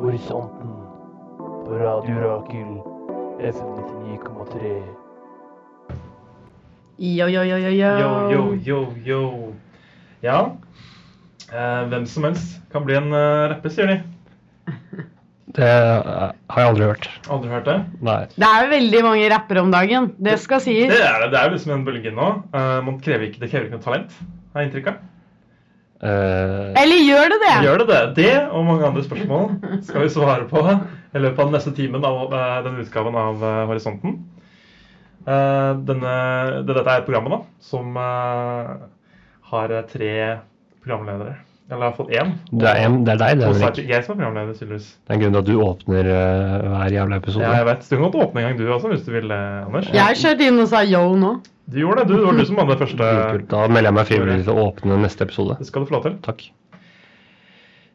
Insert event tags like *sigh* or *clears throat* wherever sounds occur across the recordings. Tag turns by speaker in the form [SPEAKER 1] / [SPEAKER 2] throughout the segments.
[SPEAKER 1] Horisonten på Radio Rakel FM 99,3.
[SPEAKER 2] Yo, yo, yo, yo, yo.
[SPEAKER 3] Yo, yo,
[SPEAKER 2] Um,
[SPEAKER 3] yo, yo. Ja. Eh, hvem som helst kan bli en eh, rapper, sier de.
[SPEAKER 4] Det eh, har jeg aldri hørt.
[SPEAKER 3] Aldri hørt det?
[SPEAKER 4] Nei.
[SPEAKER 2] Det er jo veldig mange rappere om dagen. Det skal sies.
[SPEAKER 3] Det er det. Det er jo liksom en bølge nå. Eh, man krever ikke, det krever ikke noe talent, har jeg inntrykk av.
[SPEAKER 4] Eh,
[SPEAKER 2] Eller gjør det det?
[SPEAKER 3] Gjør det det? Det og mange andre spørsmål skal vi svare på i løpet av den neste timen av eh, denne utgaven av eh, Horisonten. Eh, Denne, det- dette er programmet da, som eh, har eh, tre programledere. Eller har fått én.
[SPEAKER 4] det, er, en- det er deg, det,
[SPEAKER 3] Og så er
[SPEAKER 4] Henrik.
[SPEAKER 3] det jeg som er programleder, tydeligvis.
[SPEAKER 4] Det er en grunn til at du åpner eh, hver jævla episode.
[SPEAKER 3] Ja, jeg vet. Du kan godt åpne en gang du også, hvis du vil, eh, Anders.
[SPEAKER 2] Jeg kjørte inn og sa yo nå.
[SPEAKER 3] Du gjorde det. Du, det var du som hadde det første.
[SPEAKER 4] *laughs* Kult. Da melder jeg meg frivillig til å åpne neste episode.
[SPEAKER 3] Det skal du få lov til.
[SPEAKER 4] Takk.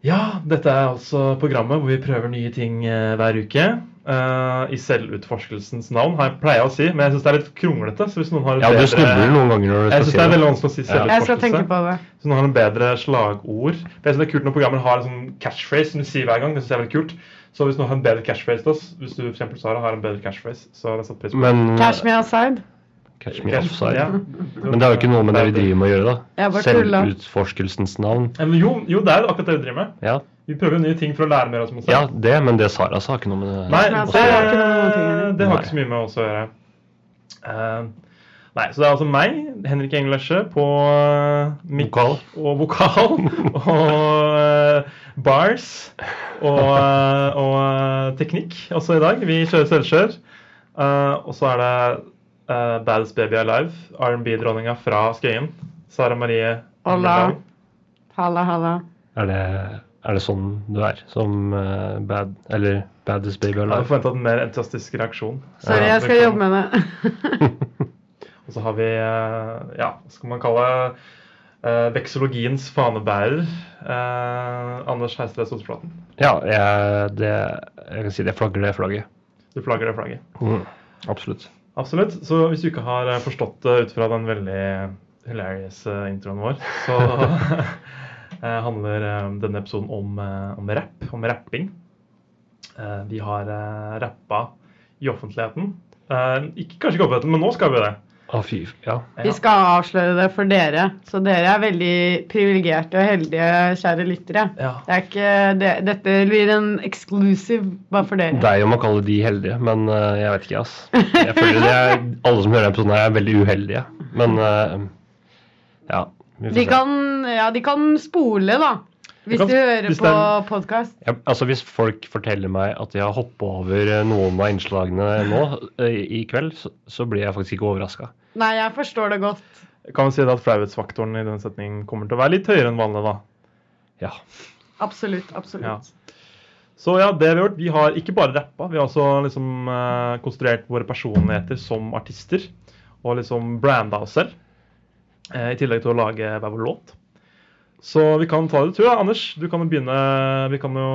[SPEAKER 3] Ja, dette er altså programmet hvor vi prøver nye ting eh, hver uke. Eh, I selvutforskelsens navn, har jeg pleier jeg å si. Men jeg syns det er litt kronglete. Så hvis noen har et
[SPEAKER 4] Ja, du
[SPEAKER 3] bedre-
[SPEAKER 4] snubler noen ganger når du
[SPEAKER 3] Jeg
[SPEAKER 4] skal
[SPEAKER 3] syns
[SPEAKER 4] si
[SPEAKER 3] det er
[SPEAKER 4] det.
[SPEAKER 3] veldig vanskelig å si
[SPEAKER 4] Ja.
[SPEAKER 2] Jeg skal tenke
[SPEAKER 3] selvutforskelse.
[SPEAKER 2] på det.
[SPEAKER 3] Hvis noen har en bedre slagord For Jeg synes det er kult når programmer har en sånn catchphrase som du sier hver gang. Det synes jeg er veldig kult. Så hvis noen har en bedre catchphrase til oss, hvis du for eksempel, Sara har en bedre catchphrase, så har jeg satt pris på
[SPEAKER 4] Men, eh,
[SPEAKER 2] Cash me outside.
[SPEAKER 4] Catch me
[SPEAKER 3] Catch-
[SPEAKER 4] offside.
[SPEAKER 3] ja.
[SPEAKER 4] Men det er jo ikke noe med det vi driver med å gjøre,
[SPEAKER 2] Jeg
[SPEAKER 4] da.
[SPEAKER 2] bare tulla.
[SPEAKER 4] Selvutforskelsens navn.
[SPEAKER 3] Ja, men Jo, jo, det er jo akkurat det vi driver med.
[SPEAKER 4] Ja.
[SPEAKER 3] Vi prøver jo nye ting for å lære mer av oss selv.
[SPEAKER 4] ja, det, men det Sara sa, har ikke noe med det
[SPEAKER 3] Nei,
[SPEAKER 2] Nei, altså,
[SPEAKER 3] det,
[SPEAKER 2] det har ikke noe med noen ting å
[SPEAKER 3] det,
[SPEAKER 2] gjøre.
[SPEAKER 3] har ikke så mye med oss å gjøre. Eh, nei, så det er altså meg, Henrik Engelesje, på uh, mikk
[SPEAKER 4] Vokal.
[SPEAKER 3] og vokal *laughs* og eh, bars og, eh, og eh, teknikk også i dag. Vi kjører selvkjør. Eh, og så er det uh, Baddest Baby Alive, R&B-dronninga fra Skøyen. Sara Marie
[SPEAKER 2] Hola.
[SPEAKER 3] Anderland.
[SPEAKER 2] Halla, halla.
[SPEAKER 4] Er det, er det sånn du er? Som eh, bad Eller baddest baby
[SPEAKER 3] Jeg hadde
[SPEAKER 4] alive?
[SPEAKER 3] forventa en mer entusiastisk reaksjon.
[SPEAKER 2] Sorry, jeg skal jobbe med det. *laughs*
[SPEAKER 4] *laughs*
[SPEAKER 3] Og så har vi, eh, ja, hva skal man kalle eh, veksologiens fanebærer, eh, Anders Heistred Sotsflaten.
[SPEAKER 4] Ja, jeg, det, jeg kan si det flagger det flagget.
[SPEAKER 3] Du flagger det flagget.
[SPEAKER 4] Mm, absolutt.
[SPEAKER 3] Absolutt. Så hvis du ikke har eh, forstått det ut fra den veldig hilarious eh, introen vår, så *laughs* eh, handler eh, denne episoden om, eh, om rapp, om rapping. Eh, Vi har eh, rappa i offentligheten. Eh, Ikke, kanskje ikke i offentligheten, men nå skal vi det.
[SPEAKER 4] Å, fy Ja.
[SPEAKER 2] Vi skal avsløre det for dere, så dere er veldig privilegerte og heldige, kjære lyttere.
[SPEAKER 3] Ja.
[SPEAKER 2] Det er ikke, det, dette blir en exclusive bare for
[SPEAKER 4] Det
[SPEAKER 2] dere.
[SPEAKER 4] er jo om å kalle de heldige, men eh, jeg vet ikke, ass. Jeg føler det er, Alle som hører denne episoden, her er veldig uheldige. Men eh, ja. Vi
[SPEAKER 2] De kan, ja, de kan spole, da. Hvis
[SPEAKER 3] kan-
[SPEAKER 2] du hører
[SPEAKER 3] hvis det
[SPEAKER 2] på
[SPEAKER 3] er-
[SPEAKER 2] podkast.
[SPEAKER 4] Ja, altså Hvis folk forteller meg at de har hoppa over eh, noen av innslagene nå eh, i kveld, så, så blir jeg faktisk ikke overraska.
[SPEAKER 2] Nei, jeg forstår det godt.
[SPEAKER 3] Kan vi si det at flauhetsfaktoren i denne setningen kommer til å være litt høyere enn vanlig, da?
[SPEAKER 4] Ja.
[SPEAKER 2] Absolutt. absolutt.
[SPEAKER 3] Så ja, det vi har gjort, vi har ikke bare rappa, vi har også liksom eh, konstruert våre personligheter som artister. Og liksom branda oss selv. Eh, I tillegg til å lage hver vår låt. Så vi kan ta det i tur. da. Anders, du kan jo begynne. Vi kan jo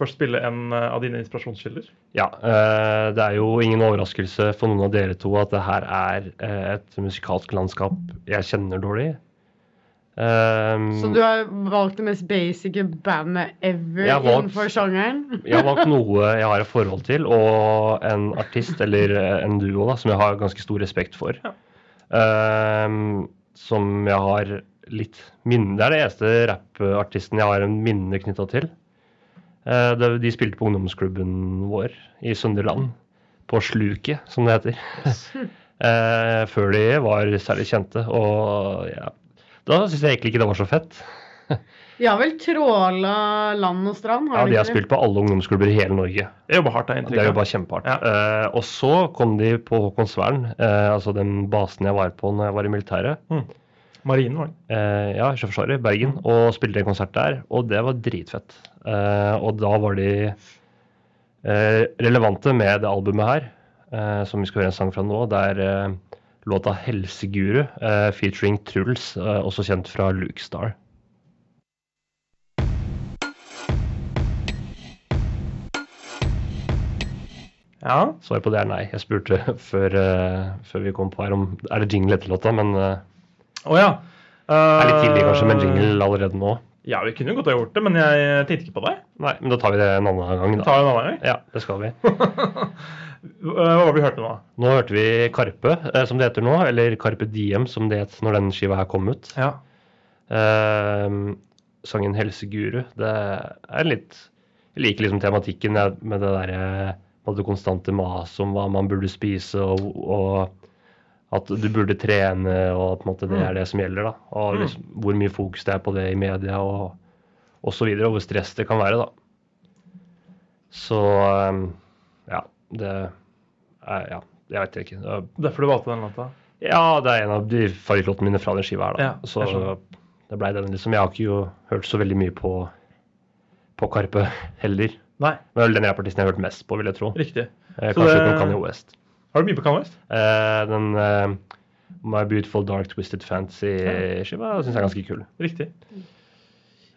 [SPEAKER 3] først spille en eh, av dine inspirasjonskilder.
[SPEAKER 4] ja eh, det er jo ingen overraskelse for noen av dere to at det her er eh, et musikalsk landskap jeg kjenner dårlig. Eh,
[SPEAKER 2] Så
[SPEAKER 3] Mm.
[SPEAKER 2] du har valgt det mest basice bandet ever
[SPEAKER 4] Jeg har valgt-
[SPEAKER 2] innenfor sjangeren?
[SPEAKER 4] Jeg har valgt noe jeg har et forhold til, og en artist eller en duo da, som jeg har ganske stor respekt for. Ehm, som jeg har litt minne Det er det eneste rappartisten jeg har en minne knytta til. Eh, det, de spilte på ungdomsklubben vår i Sønderland. På Sluket, som det heter. *laughs* Eh, før de var særlig kjente. Og ja, da syns jeg egentlig ikke det var så fett.
[SPEAKER 2] De har vel tråla land og strand?
[SPEAKER 4] Ja, De har
[SPEAKER 2] ikke det?
[SPEAKER 4] spilt på alle ungdomsklubber i hele Norge.
[SPEAKER 3] Jeg jobber hardt, jeg.
[SPEAKER 4] Det er
[SPEAKER 3] Inntrykk.
[SPEAKER 4] jo
[SPEAKER 3] av.
[SPEAKER 4] bare kjempehardt.
[SPEAKER 3] Ja.
[SPEAKER 4] Eh, og så kom de på Haakonsvern, eh, altså den basen jeg var på når jeg var i militæret.
[SPEAKER 3] Marinen, var det.
[SPEAKER 4] Eh, ja, Sjøforsvaret, Bergen, og spilte en konsert der. Og det var dritfett. Eh, og da var de eh, relevante med det albumet her, eh, som vi skal høre en sang fra nå. Det er eh, låta 'Helseguru' eh, featuring Truls, eh, også kjent fra Luke Star.
[SPEAKER 3] Ja.
[SPEAKER 4] Svaret på det er nei. Jeg spurte *laughs* før, eh, før vi kom på her om er det jingle etter låta, men eh,
[SPEAKER 3] Å ja. Eh,
[SPEAKER 4] det er litt tidlig kanskje med jingle allerede nå.
[SPEAKER 3] Ja, vi kunne jo godt ha gjort det, men jeg tenkte ikke på det.
[SPEAKER 4] Nei, men da tar vi det en annen gang,
[SPEAKER 3] Vi
[SPEAKER 4] da.
[SPEAKER 3] tar det en annen gang.
[SPEAKER 4] Ja, det skal vi.
[SPEAKER 3] Eh, Hva var det vi hørte nå?
[SPEAKER 4] Nå hørte vi Karpe, eh, som det heter nå, eller Karpe Diem, som det het når den skiva her kom ut.
[SPEAKER 3] Ja.
[SPEAKER 4] Ehm, sangen 'Helseguru'. Det er litt Jeg liker liksom tematikken jeg- med det derre med det konstante maset om hva man burde spise, og, og at du burde trene, og at på en måte, det er det som gjelder. da, Og
[SPEAKER 3] Mm.
[SPEAKER 4] liksom, hvor mye fokus det er på det i media, og, og så videre, og hvor stress det kan være. da. Så ehm, ja, det er, Ja, jeg vet ikke. Det er-
[SPEAKER 3] Derfor du valgte den låta?
[SPEAKER 4] ja, det er en av de favorittlåtene mine fra den skiva her, da.
[SPEAKER 3] Ja, jeg
[SPEAKER 4] så
[SPEAKER 3] skjønner.
[SPEAKER 4] det blei den, liksom. Jeg har ikke jo hørt så veldig mye på, på Karpe heller.
[SPEAKER 3] Nei,
[SPEAKER 4] Men det er vel den rappartisten jeg har hørt mest på, vil jeg tro.
[SPEAKER 3] riktig.
[SPEAKER 4] Eh,
[SPEAKER 3] Så
[SPEAKER 4] kanskje
[SPEAKER 3] det-
[SPEAKER 4] utenom Kanye West.
[SPEAKER 3] Har du mye på Kanye West?
[SPEAKER 4] Eh, den eh, My Beautiful Dark Twisted Fantasy-skiva syns jeg er ganske kul.
[SPEAKER 3] Riktig.
[SPEAKER 2] Mm.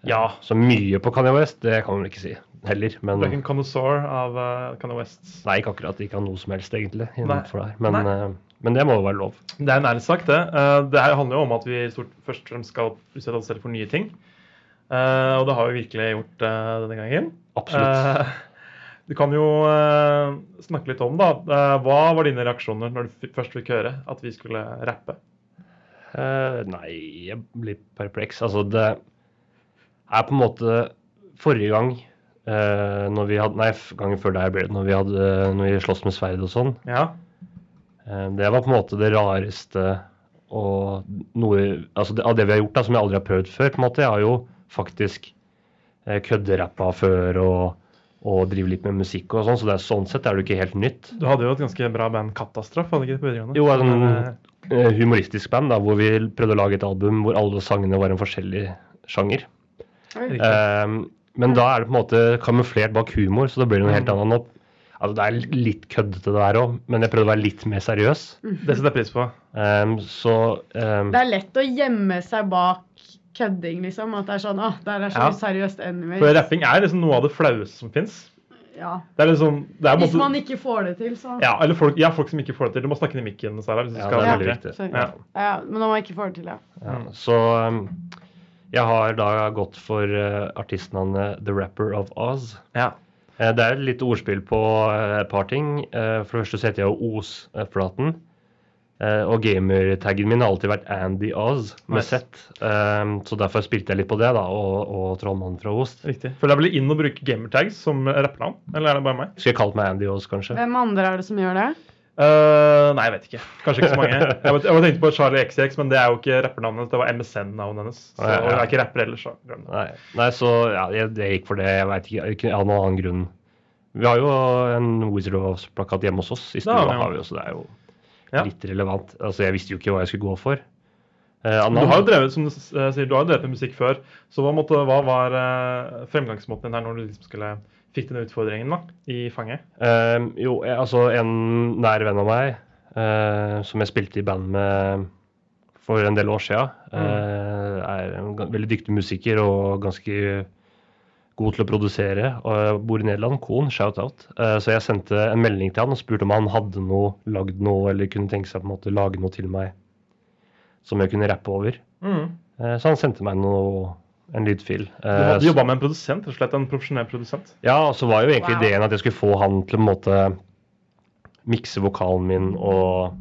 [SPEAKER 3] Ja.
[SPEAKER 4] Så mye på Kanye West, det kan man vel ikke si heller. Men
[SPEAKER 3] Du er ikke en connoisseur av eh, Kanye West.
[SPEAKER 4] nei, ikke akkurat. Ikke av noe som helst, egentlig, innenfor
[SPEAKER 3] Nei.
[SPEAKER 4] der. Men, eh, men det må jo være lov.
[SPEAKER 3] Det er en ærlig sak, det. Eh, Det her handler jo om at vi stort, først og fremst skal utsette oss selv for nye ting. Eh, Og det har vi virkelig gjort eh, denne gangen.
[SPEAKER 4] Absolutt.
[SPEAKER 3] Eh, Du kan jo eh, snakke litt om, da. Eh, Hva var dine reaksjoner når du f- først fikk høre at vi skulle rappe?
[SPEAKER 4] Eh, nei, jeg blir perpleks. Altså, det er på en måte Forrige gang eh, når vi hadde, Nei, f- gangen før der ble det når vi, hadde, når vi sloss med sverd og sånn.
[SPEAKER 3] Ja.
[SPEAKER 4] eh, det var på en måte det rareste og noe altså det, Av det vi har gjort da, som jeg aldri har prøvd før. på en måte. Jeg har jo faktisk uh, kødderappa før og, og driver litt med musikk og sånn, så det er, sånn sett er det jo ikke helt nytt.
[SPEAKER 3] Du hadde jo et ganske bra band, Katastrof, hadde ikke det på videregående?
[SPEAKER 4] Jo, altså,
[SPEAKER 3] Men, eh,
[SPEAKER 4] eh, humoristisk band da, hvor vi prøvde å lage et album hvor alle sangene var en forskjellig sjanger.
[SPEAKER 3] riktig.
[SPEAKER 4] Ehm, men da er det på en måte kamuflert bak humor, så det blir noe helt
[SPEAKER 2] Mm.
[SPEAKER 4] annet. nå. Altså, det er litt køddete det der òg, men jeg prøvde å være litt mer seriøs.
[SPEAKER 3] Det setter jeg pris på.
[SPEAKER 4] Ehm, så ehm,
[SPEAKER 2] Mm. Det er lett å gjemme seg bak kødding, liksom. At det er sånn Å, der er så
[SPEAKER 3] Ja.
[SPEAKER 2] seriøst
[SPEAKER 3] For
[SPEAKER 2] anyways.
[SPEAKER 3] rapping er liksom noe av det flaueste som fins.
[SPEAKER 2] Ja.
[SPEAKER 3] Det er liksom det er på en
[SPEAKER 2] Hvis
[SPEAKER 3] måte-
[SPEAKER 2] man ikke får det til, så
[SPEAKER 3] Ja, eller folk, ja, folk som ikke får det til. Du må snakke inn i mikken, Sara. Hvis du
[SPEAKER 4] ja,
[SPEAKER 3] skal
[SPEAKER 4] det er
[SPEAKER 2] Ja.
[SPEAKER 3] ha
[SPEAKER 4] veldig
[SPEAKER 3] det.
[SPEAKER 4] viktig.
[SPEAKER 2] Sorry.
[SPEAKER 3] Ja.
[SPEAKER 2] Ja, men når man ikke får det til, ja.
[SPEAKER 4] Ja, så ehm, jeg har da gått for eh, artistnavnet The Rapper of Oz.
[SPEAKER 3] Ja.
[SPEAKER 4] Eh, Det er litt ordspill på eh, et par ting. Eh, For det første så heter jeg jo Os-platen. Og gamertaggen min har alltid vært Andy Oz med
[SPEAKER 3] Nice.
[SPEAKER 4] Z. Um, Så derfor spilte jeg litt på det, da, og, og trollmannen fra Os.
[SPEAKER 3] Riktig. Føler det er vel inn å bruke gamertags som rappernavn? Eller er det bare meg?
[SPEAKER 4] Skulle jeg kalt meg Andy Oz, kanskje?
[SPEAKER 2] Hvem andre er det som gjør det?
[SPEAKER 3] Eh, nei, jeg vet ikke. Kanskje ikke så mange. *laughs* Jeg, vet, jeg tenkte på Charlie XX, men det er jo ikke rappernavnet. Det var MSN-navnet hennes. Så
[SPEAKER 4] Ja, ja, ja.
[SPEAKER 3] og hun er ikke rapper ellers, så glem det.
[SPEAKER 4] Nei, nei så ja, jeg, jeg gikk for det. Jeg veit ikke. ikke av noen annen grunn. Vi har jo en Wizard of Oz-plakat hjemme hos oss i stua,
[SPEAKER 3] har vi jo.
[SPEAKER 4] har vi jo, så det er jo
[SPEAKER 3] Ja.
[SPEAKER 4] litt relevant. Altså, jeg visste jo ikke hva jeg skulle gå for. Eh,
[SPEAKER 3] Men
[SPEAKER 4] navn-
[SPEAKER 3] Du har jo drevet som du s- eh, sier, du har jo drevet med musikk før, så hva, måtte, hva var eh, fremgangsmåten din her når du liksom skulle fikk denne utfordringen da, i fanget?
[SPEAKER 4] Ehm, jo, jeg, altså en nær venn av meg eh, som jeg spilte i band med for en del år siden,
[SPEAKER 3] Mm.
[SPEAKER 4] eh, er en ga- veldig dyktig musiker og ganske god til å produsere. Og bor i Nederland. Kohn, shout-out. Eh, så jeg sendte en melding til han og spurte om han hadde noe, lagd noe, eller kunne tenke seg på en måte lage noe til meg som jeg kunne rappe over.
[SPEAKER 3] Mm.
[SPEAKER 4] Eh, så han sendte meg noe, en lydfil.
[SPEAKER 3] Du
[SPEAKER 4] Eh,
[SPEAKER 3] hadde jobba med en produsent, rett og slett en profesjonell produsent.
[SPEAKER 4] ja, og så var jo egentlig
[SPEAKER 2] Wow.
[SPEAKER 4] ideen at jeg skulle få han til å på en måte mikse vokalen min og,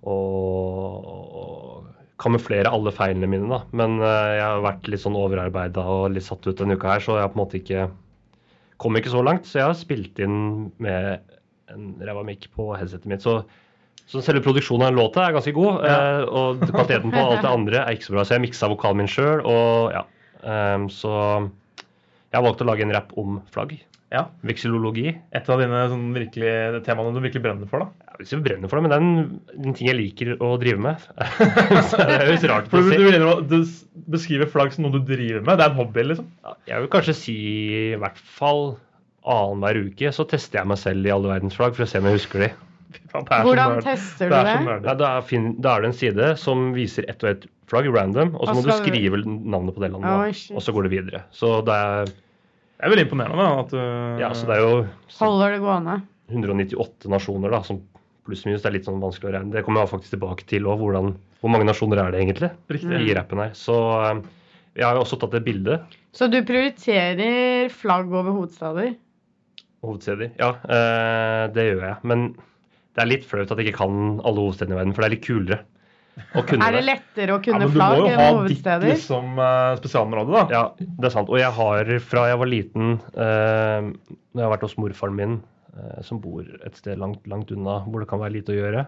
[SPEAKER 4] og, og kamuflere alle feilene mine, da. Men eh, jeg har vært litt sånn overarbeida og litt satt ut denne uka her, så jeg har på en måte ikke kom ikke så langt. Så jeg har spilt inn med en ræva mic på headsetet mitt. Så, så selve produksjonen av låta er ganske god,
[SPEAKER 3] Ja.
[SPEAKER 4] eh, og kvaliteten på alt det andre er ikke så bra. Så jeg miksa vokalen min sjøl, og ja. Ehm, så jeg har valgt å lage en rapp om flagg.
[SPEAKER 3] Ja.
[SPEAKER 4] Vekselologi. Jeg
[SPEAKER 3] Et av dine sånn, virkelig, temaene du virkelig brenner for, da.
[SPEAKER 4] vil ikke brenne for det, men det er en, en ting jeg liker å drive med. *laughs* så det høres rart ut
[SPEAKER 3] For
[SPEAKER 4] å
[SPEAKER 3] du, du,
[SPEAKER 4] si.
[SPEAKER 3] mener å- du s- beskriver flagg som noe du driver med. Det er en hobby, liksom.
[SPEAKER 4] Jeg vil kanskje si i hvert fall annenhver uke så tester jeg meg selv i alle verdens flagg for å se om jeg husker de.
[SPEAKER 3] Fy faen, det er så
[SPEAKER 2] Hvordan
[SPEAKER 3] nerd.
[SPEAKER 2] tester
[SPEAKER 3] Det
[SPEAKER 2] du
[SPEAKER 3] er så
[SPEAKER 2] det?
[SPEAKER 3] nerd.
[SPEAKER 4] Nei, da, fin, da er det en side som viser ett og ett flagg, random, og så
[SPEAKER 2] Og
[SPEAKER 4] må du
[SPEAKER 2] så-
[SPEAKER 4] skrive navnet på det landet,
[SPEAKER 2] Oi,
[SPEAKER 4] da.
[SPEAKER 2] shit.
[SPEAKER 4] og så går det videre. Så det er,
[SPEAKER 3] Det er veldig imponerende da, at eh, du
[SPEAKER 4] ja, så det er jo
[SPEAKER 2] Holder det gående?
[SPEAKER 4] 198 nasjoner, da, som pluss-minus er litt sånn vanskelig å regne. Det kommer jeg faktisk tilbake til òg, hvor mange nasjoner er det egentlig
[SPEAKER 3] Riktig.
[SPEAKER 4] i rappen her. Så eh, Jeg har jo også tatt et bilde.
[SPEAKER 2] Så du prioriterer flagg over hovedstader?
[SPEAKER 4] Hovedsteder. Ja, eh, det gjør jeg. Men det er litt flaut at jeg ikke kan alle hovedstedene i verden, for det er litt kulere å kunne
[SPEAKER 2] Er det lettere å
[SPEAKER 3] Ja,
[SPEAKER 2] kunne
[SPEAKER 3] men du må
[SPEAKER 2] flagg
[SPEAKER 3] jo
[SPEAKER 2] enn
[SPEAKER 3] ha ditt
[SPEAKER 2] hovedsteder?
[SPEAKER 3] liksom, eh, spesialområde, da.
[SPEAKER 4] Ja, det er sant. Og jeg har fra jeg var liten, eh, når jeg har vært hos morfaren min, eh, som bor et sted langt, langt unna hvor det kan være lite å
[SPEAKER 3] *laughs*
[SPEAKER 4] gjøre,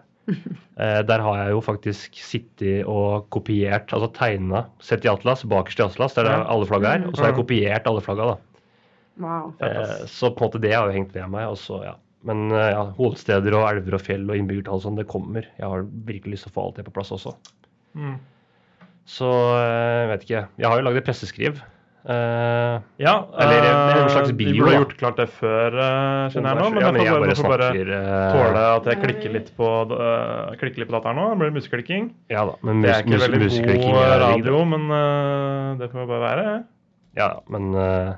[SPEAKER 4] eh, der har jeg jo faktisk sittet og kopiert, altså tegna, sett i Atlas, bakerst i Atlas, der
[SPEAKER 3] Ja.
[SPEAKER 4] alle flagga er, og så har jeg
[SPEAKER 3] Mm.
[SPEAKER 4] kopiert alle flagga, da.
[SPEAKER 2] Wow.
[SPEAKER 3] Fett, ass.
[SPEAKER 4] Eh, så på en måte det har jo hengt ved meg. Og så, ja. Men eh, ja, hovedsteder og elver og fjell og innbyggertall og sånn, det kommer. Jeg har virkelig lyst til å få alt det på plass også.
[SPEAKER 3] Mm.
[SPEAKER 4] Så eh, jeg vet ikke. Jeg har jo lagd et presseskriv. Eh,
[SPEAKER 3] Ja,
[SPEAKER 4] Eller en- en
[SPEAKER 3] eh,
[SPEAKER 4] slags
[SPEAKER 3] Vi
[SPEAKER 4] bio,
[SPEAKER 3] burde
[SPEAKER 4] da.
[SPEAKER 3] gjort klart det før, eh, skjønner jeg nå.
[SPEAKER 4] om-
[SPEAKER 3] Men
[SPEAKER 4] ja,
[SPEAKER 3] jeg får bare, jeg får bare tåle
[SPEAKER 4] eh,
[SPEAKER 3] at jeg klikker litt på, eh, klikker litt på dataen nå. Det blir museklikking.
[SPEAKER 4] Ja da, men
[SPEAKER 3] Det er
[SPEAKER 4] mus,
[SPEAKER 3] ikke
[SPEAKER 4] mus,
[SPEAKER 3] veldig
[SPEAKER 4] musiklikking
[SPEAKER 3] god
[SPEAKER 4] er digg,
[SPEAKER 3] radio,
[SPEAKER 4] da.
[SPEAKER 3] men eh, det får bare være.
[SPEAKER 4] Ja, ja, men eh,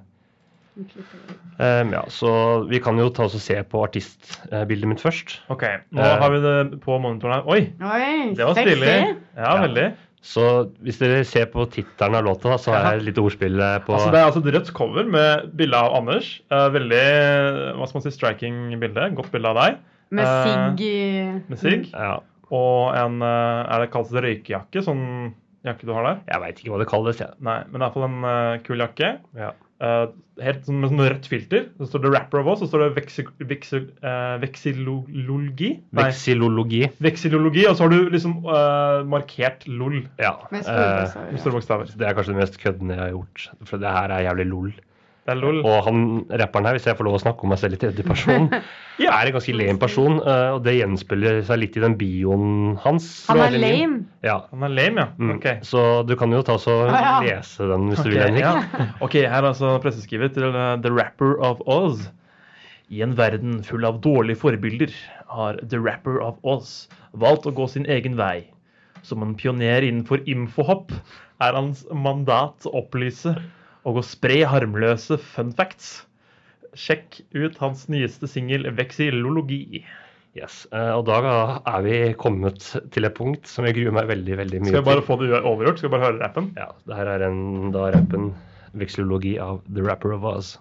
[SPEAKER 4] em, ja, så vi kan jo ta oss og se på artistbildet mitt først.
[SPEAKER 3] Ok, nå
[SPEAKER 4] Eh.
[SPEAKER 3] har vi det på monitoren her. Oi,
[SPEAKER 2] Oi,
[SPEAKER 3] det var
[SPEAKER 2] sexy!
[SPEAKER 3] stilig. Ja,
[SPEAKER 4] Ja.
[SPEAKER 3] veldig.
[SPEAKER 4] Så hvis dere ser på tittelen av låta, da, så har jeg litt ordspill eh, på
[SPEAKER 3] Altså, det er altså et rødt cover med bilde av Anders. Eh, veldig eh, hva skal man si, striking bilde. Godt bilde av deg.
[SPEAKER 2] Med
[SPEAKER 3] Eh,
[SPEAKER 2] sigg i Mm.
[SPEAKER 3] Med sigg.
[SPEAKER 4] ja,
[SPEAKER 3] Og en eh, Er det kalt røykejakke? Sånn jakke du har der?
[SPEAKER 4] Jeg veit ikke hva det kalles, jeg.
[SPEAKER 3] Nei, men det er iallfall en eh, kul jakke.
[SPEAKER 4] Ja.
[SPEAKER 3] Eh, helt sånn, med sånn rødt filter. Så står det 'Rapper of Oz', så står det veksi- veksi- eh, veksilologi. Nei,
[SPEAKER 4] Veksilologi.
[SPEAKER 3] veksilologi, og så har du liksom eh, markert LOL
[SPEAKER 4] Ja.
[SPEAKER 2] med
[SPEAKER 4] eh,
[SPEAKER 2] store
[SPEAKER 3] med
[SPEAKER 2] bokstaver.
[SPEAKER 3] store bokstaver.
[SPEAKER 4] det er kanskje det mest køddende jeg har gjort. For det her er jævlig lol.
[SPEAKER 3] Det er LOL.
[SPEAKER 4] Og han rapperen her, hvis jeg får lov å snakke om meg selv i tredje
[SPEAKER 3] *laughs*
[SPEAKER 4] person, er en ganske lame person, eh, og det gjenspeiler seg litt i den bioen hans.
[SPEAKER 2] Han er lame.
[SPEAKER 4] Ja.
[SPEAKER 3] Han er lame, ja.
[SPEAKER 4] Mm.
[SPEAKER 3] Ok.
[SPEAKER 4] Så du kan jo ta så
[SPEAKER 2] Ah, ja.
[SPEAKER 4] lese den hvis du
[SPEAKER 3] Ok,
[SPEAKER 4] vil, Henrik.
[SPEAKER 3] ja. *laughs* ok, her er altså presseskrivet til eh, The Rapper of Oz. I en verden full av dårlige forbilder har The Rapper of Oz valgt å gå sin egen vei. Som en pioner innenfor infohopp er hans mandat å opplyse og å spre harmløse fun facts. Sjekk ut hans nyeste singel 'Veksilologi'.
[SPEAKER 4] Yes. eh, Og da er vi kommet til et punkt som jeg gruer meg veldig, veldig mye
[SPEAKER 3] Skal vi bare
[SPEAKER 4] til.
[SPEAKER 3] få det overgjort? Skal vi bare høre rappen?
[SPEAKER 4] Ja, det her er en, da rappen Veksilologi av The Rapper of Oz.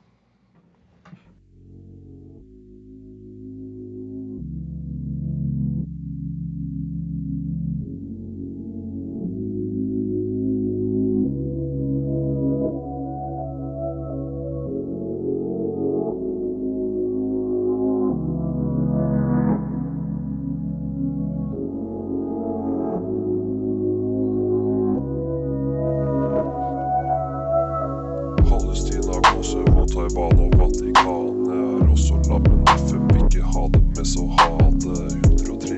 [SPEAKER 5] Palestina, Kosovo, Taiwan og Vatikanet er også lammen. FN vil ikke ha det med, så ha det. 183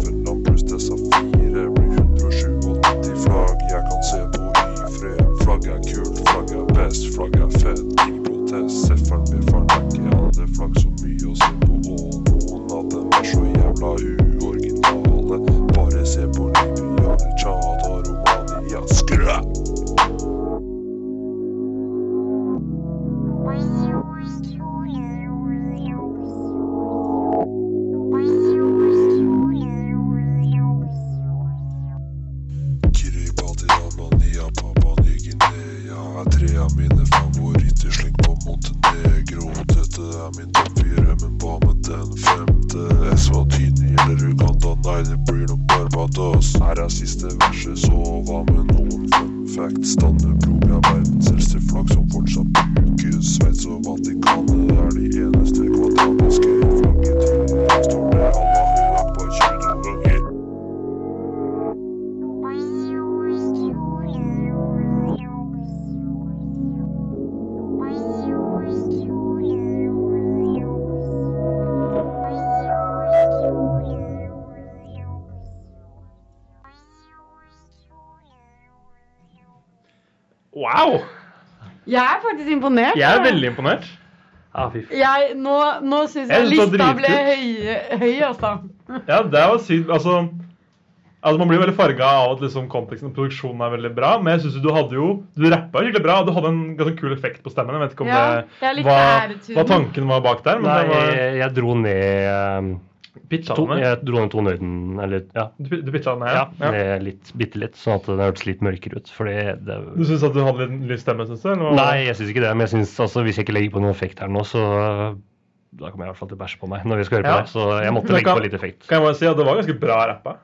[SPEAKER 5] FN-land pluss disse fire blir 187 flagg. Jeg kan se på i fred. Flagg er kult, flagg er best, flagg er fett. Ingen protest. Sefferen min faren er ikke alle flagg så mye å se på. Og noen av dem er så jævla uoriginale. Bare se på Libya, Tsjad og Romania. Skræ! Kiribati, Albania, Papua Ny-Guinea er tre av mine favoritter. Slengt på Montenegro. Dette er min topp fire, men hva med den femte? Eswatini eller Uganda? Nei, det blir nok Barbados. Her er siste verset, så hva med noen fun facts? Dannebrog er verdens eldste flagg som fortsatt brukes. Sveits og Vatikanet er de eneste kvadratiske flaggene. Der står det Allah Akbar 22 ganger.
[SPEAKER 3] Wow!
[SPEAKER 2] Jeg er faktisk imponert. altså.
[SPEAKER 3] Jeg er veldig imponert.
[SPEAKER 4] Ah, fy f-
[SPEAKER 2] Jeg- Nå, nå syns jeg,
[SPEAKER 3] Jeg synes det
[SPEAKER 2] lista
[SPEAKER 3] var
[SPEAKER 2] ble høy, høy, altså.
[SPEAKER 3] Ja, det var sykt. Altså, altså Man blir veldig farga av at liksom konteksten og produksjonen er veldig bra. Men jeg synes jo du hadde jo Du rappa skikkelig bra, og du hadde en ganske kul effekt på stemmen. Jeg vet ikke om
[SPEAKER 2] Ja, jeg
[SPEAKER 3] det
[SPEAKER 2] likte
[SPEAKER 3] hva,
[SPEAKER 2] æreturen.
[SPEAKER 3] hva tanken var bak der. Men
[SPEAKER 4] Nei,
[SPEAKER 3] det var,
[SPEAKER 4] jeg, jeg dro ned eh,
[SPEAKER 3] Pitcha
[SPEAKER 4] To,
[SPEAKER 3] den ned?
[SPEAKER 4] jeg dro ned tonehøyden, eller ja,
[SPEAKER 3] Du, du pitcha den
[SPEAKER 4] ja,
[SPEAKER 3] ned? Ja. ja.
[SPEAKER 4] ned litt, bitte litt, sånn at den hørtes litt mørkere ut. Fordi det
[SPEAKER 3] Du syns at du hadde litt lys stemme, syns du? eller hva?
[SPEAKER 4] Nei, jeg syns ikke det, men jeg synes, altså, hvis jeg ikke legger på noen effekt her nå, så øh, da kommer jeg i hvert fall til å bæsje på meg når vi skal
[SPEAKER 3] Ja.
[SPEAKER 4] høre på det. Så jeg måtte
[SPEAKER 3] Men
[SPEAKER 4] legge
[SPEAKER 3] kan-
[SPEAKER 4] på litt effekt.
[SPEAKER 3] Kan jeg bare si at det var ganske bra rappa?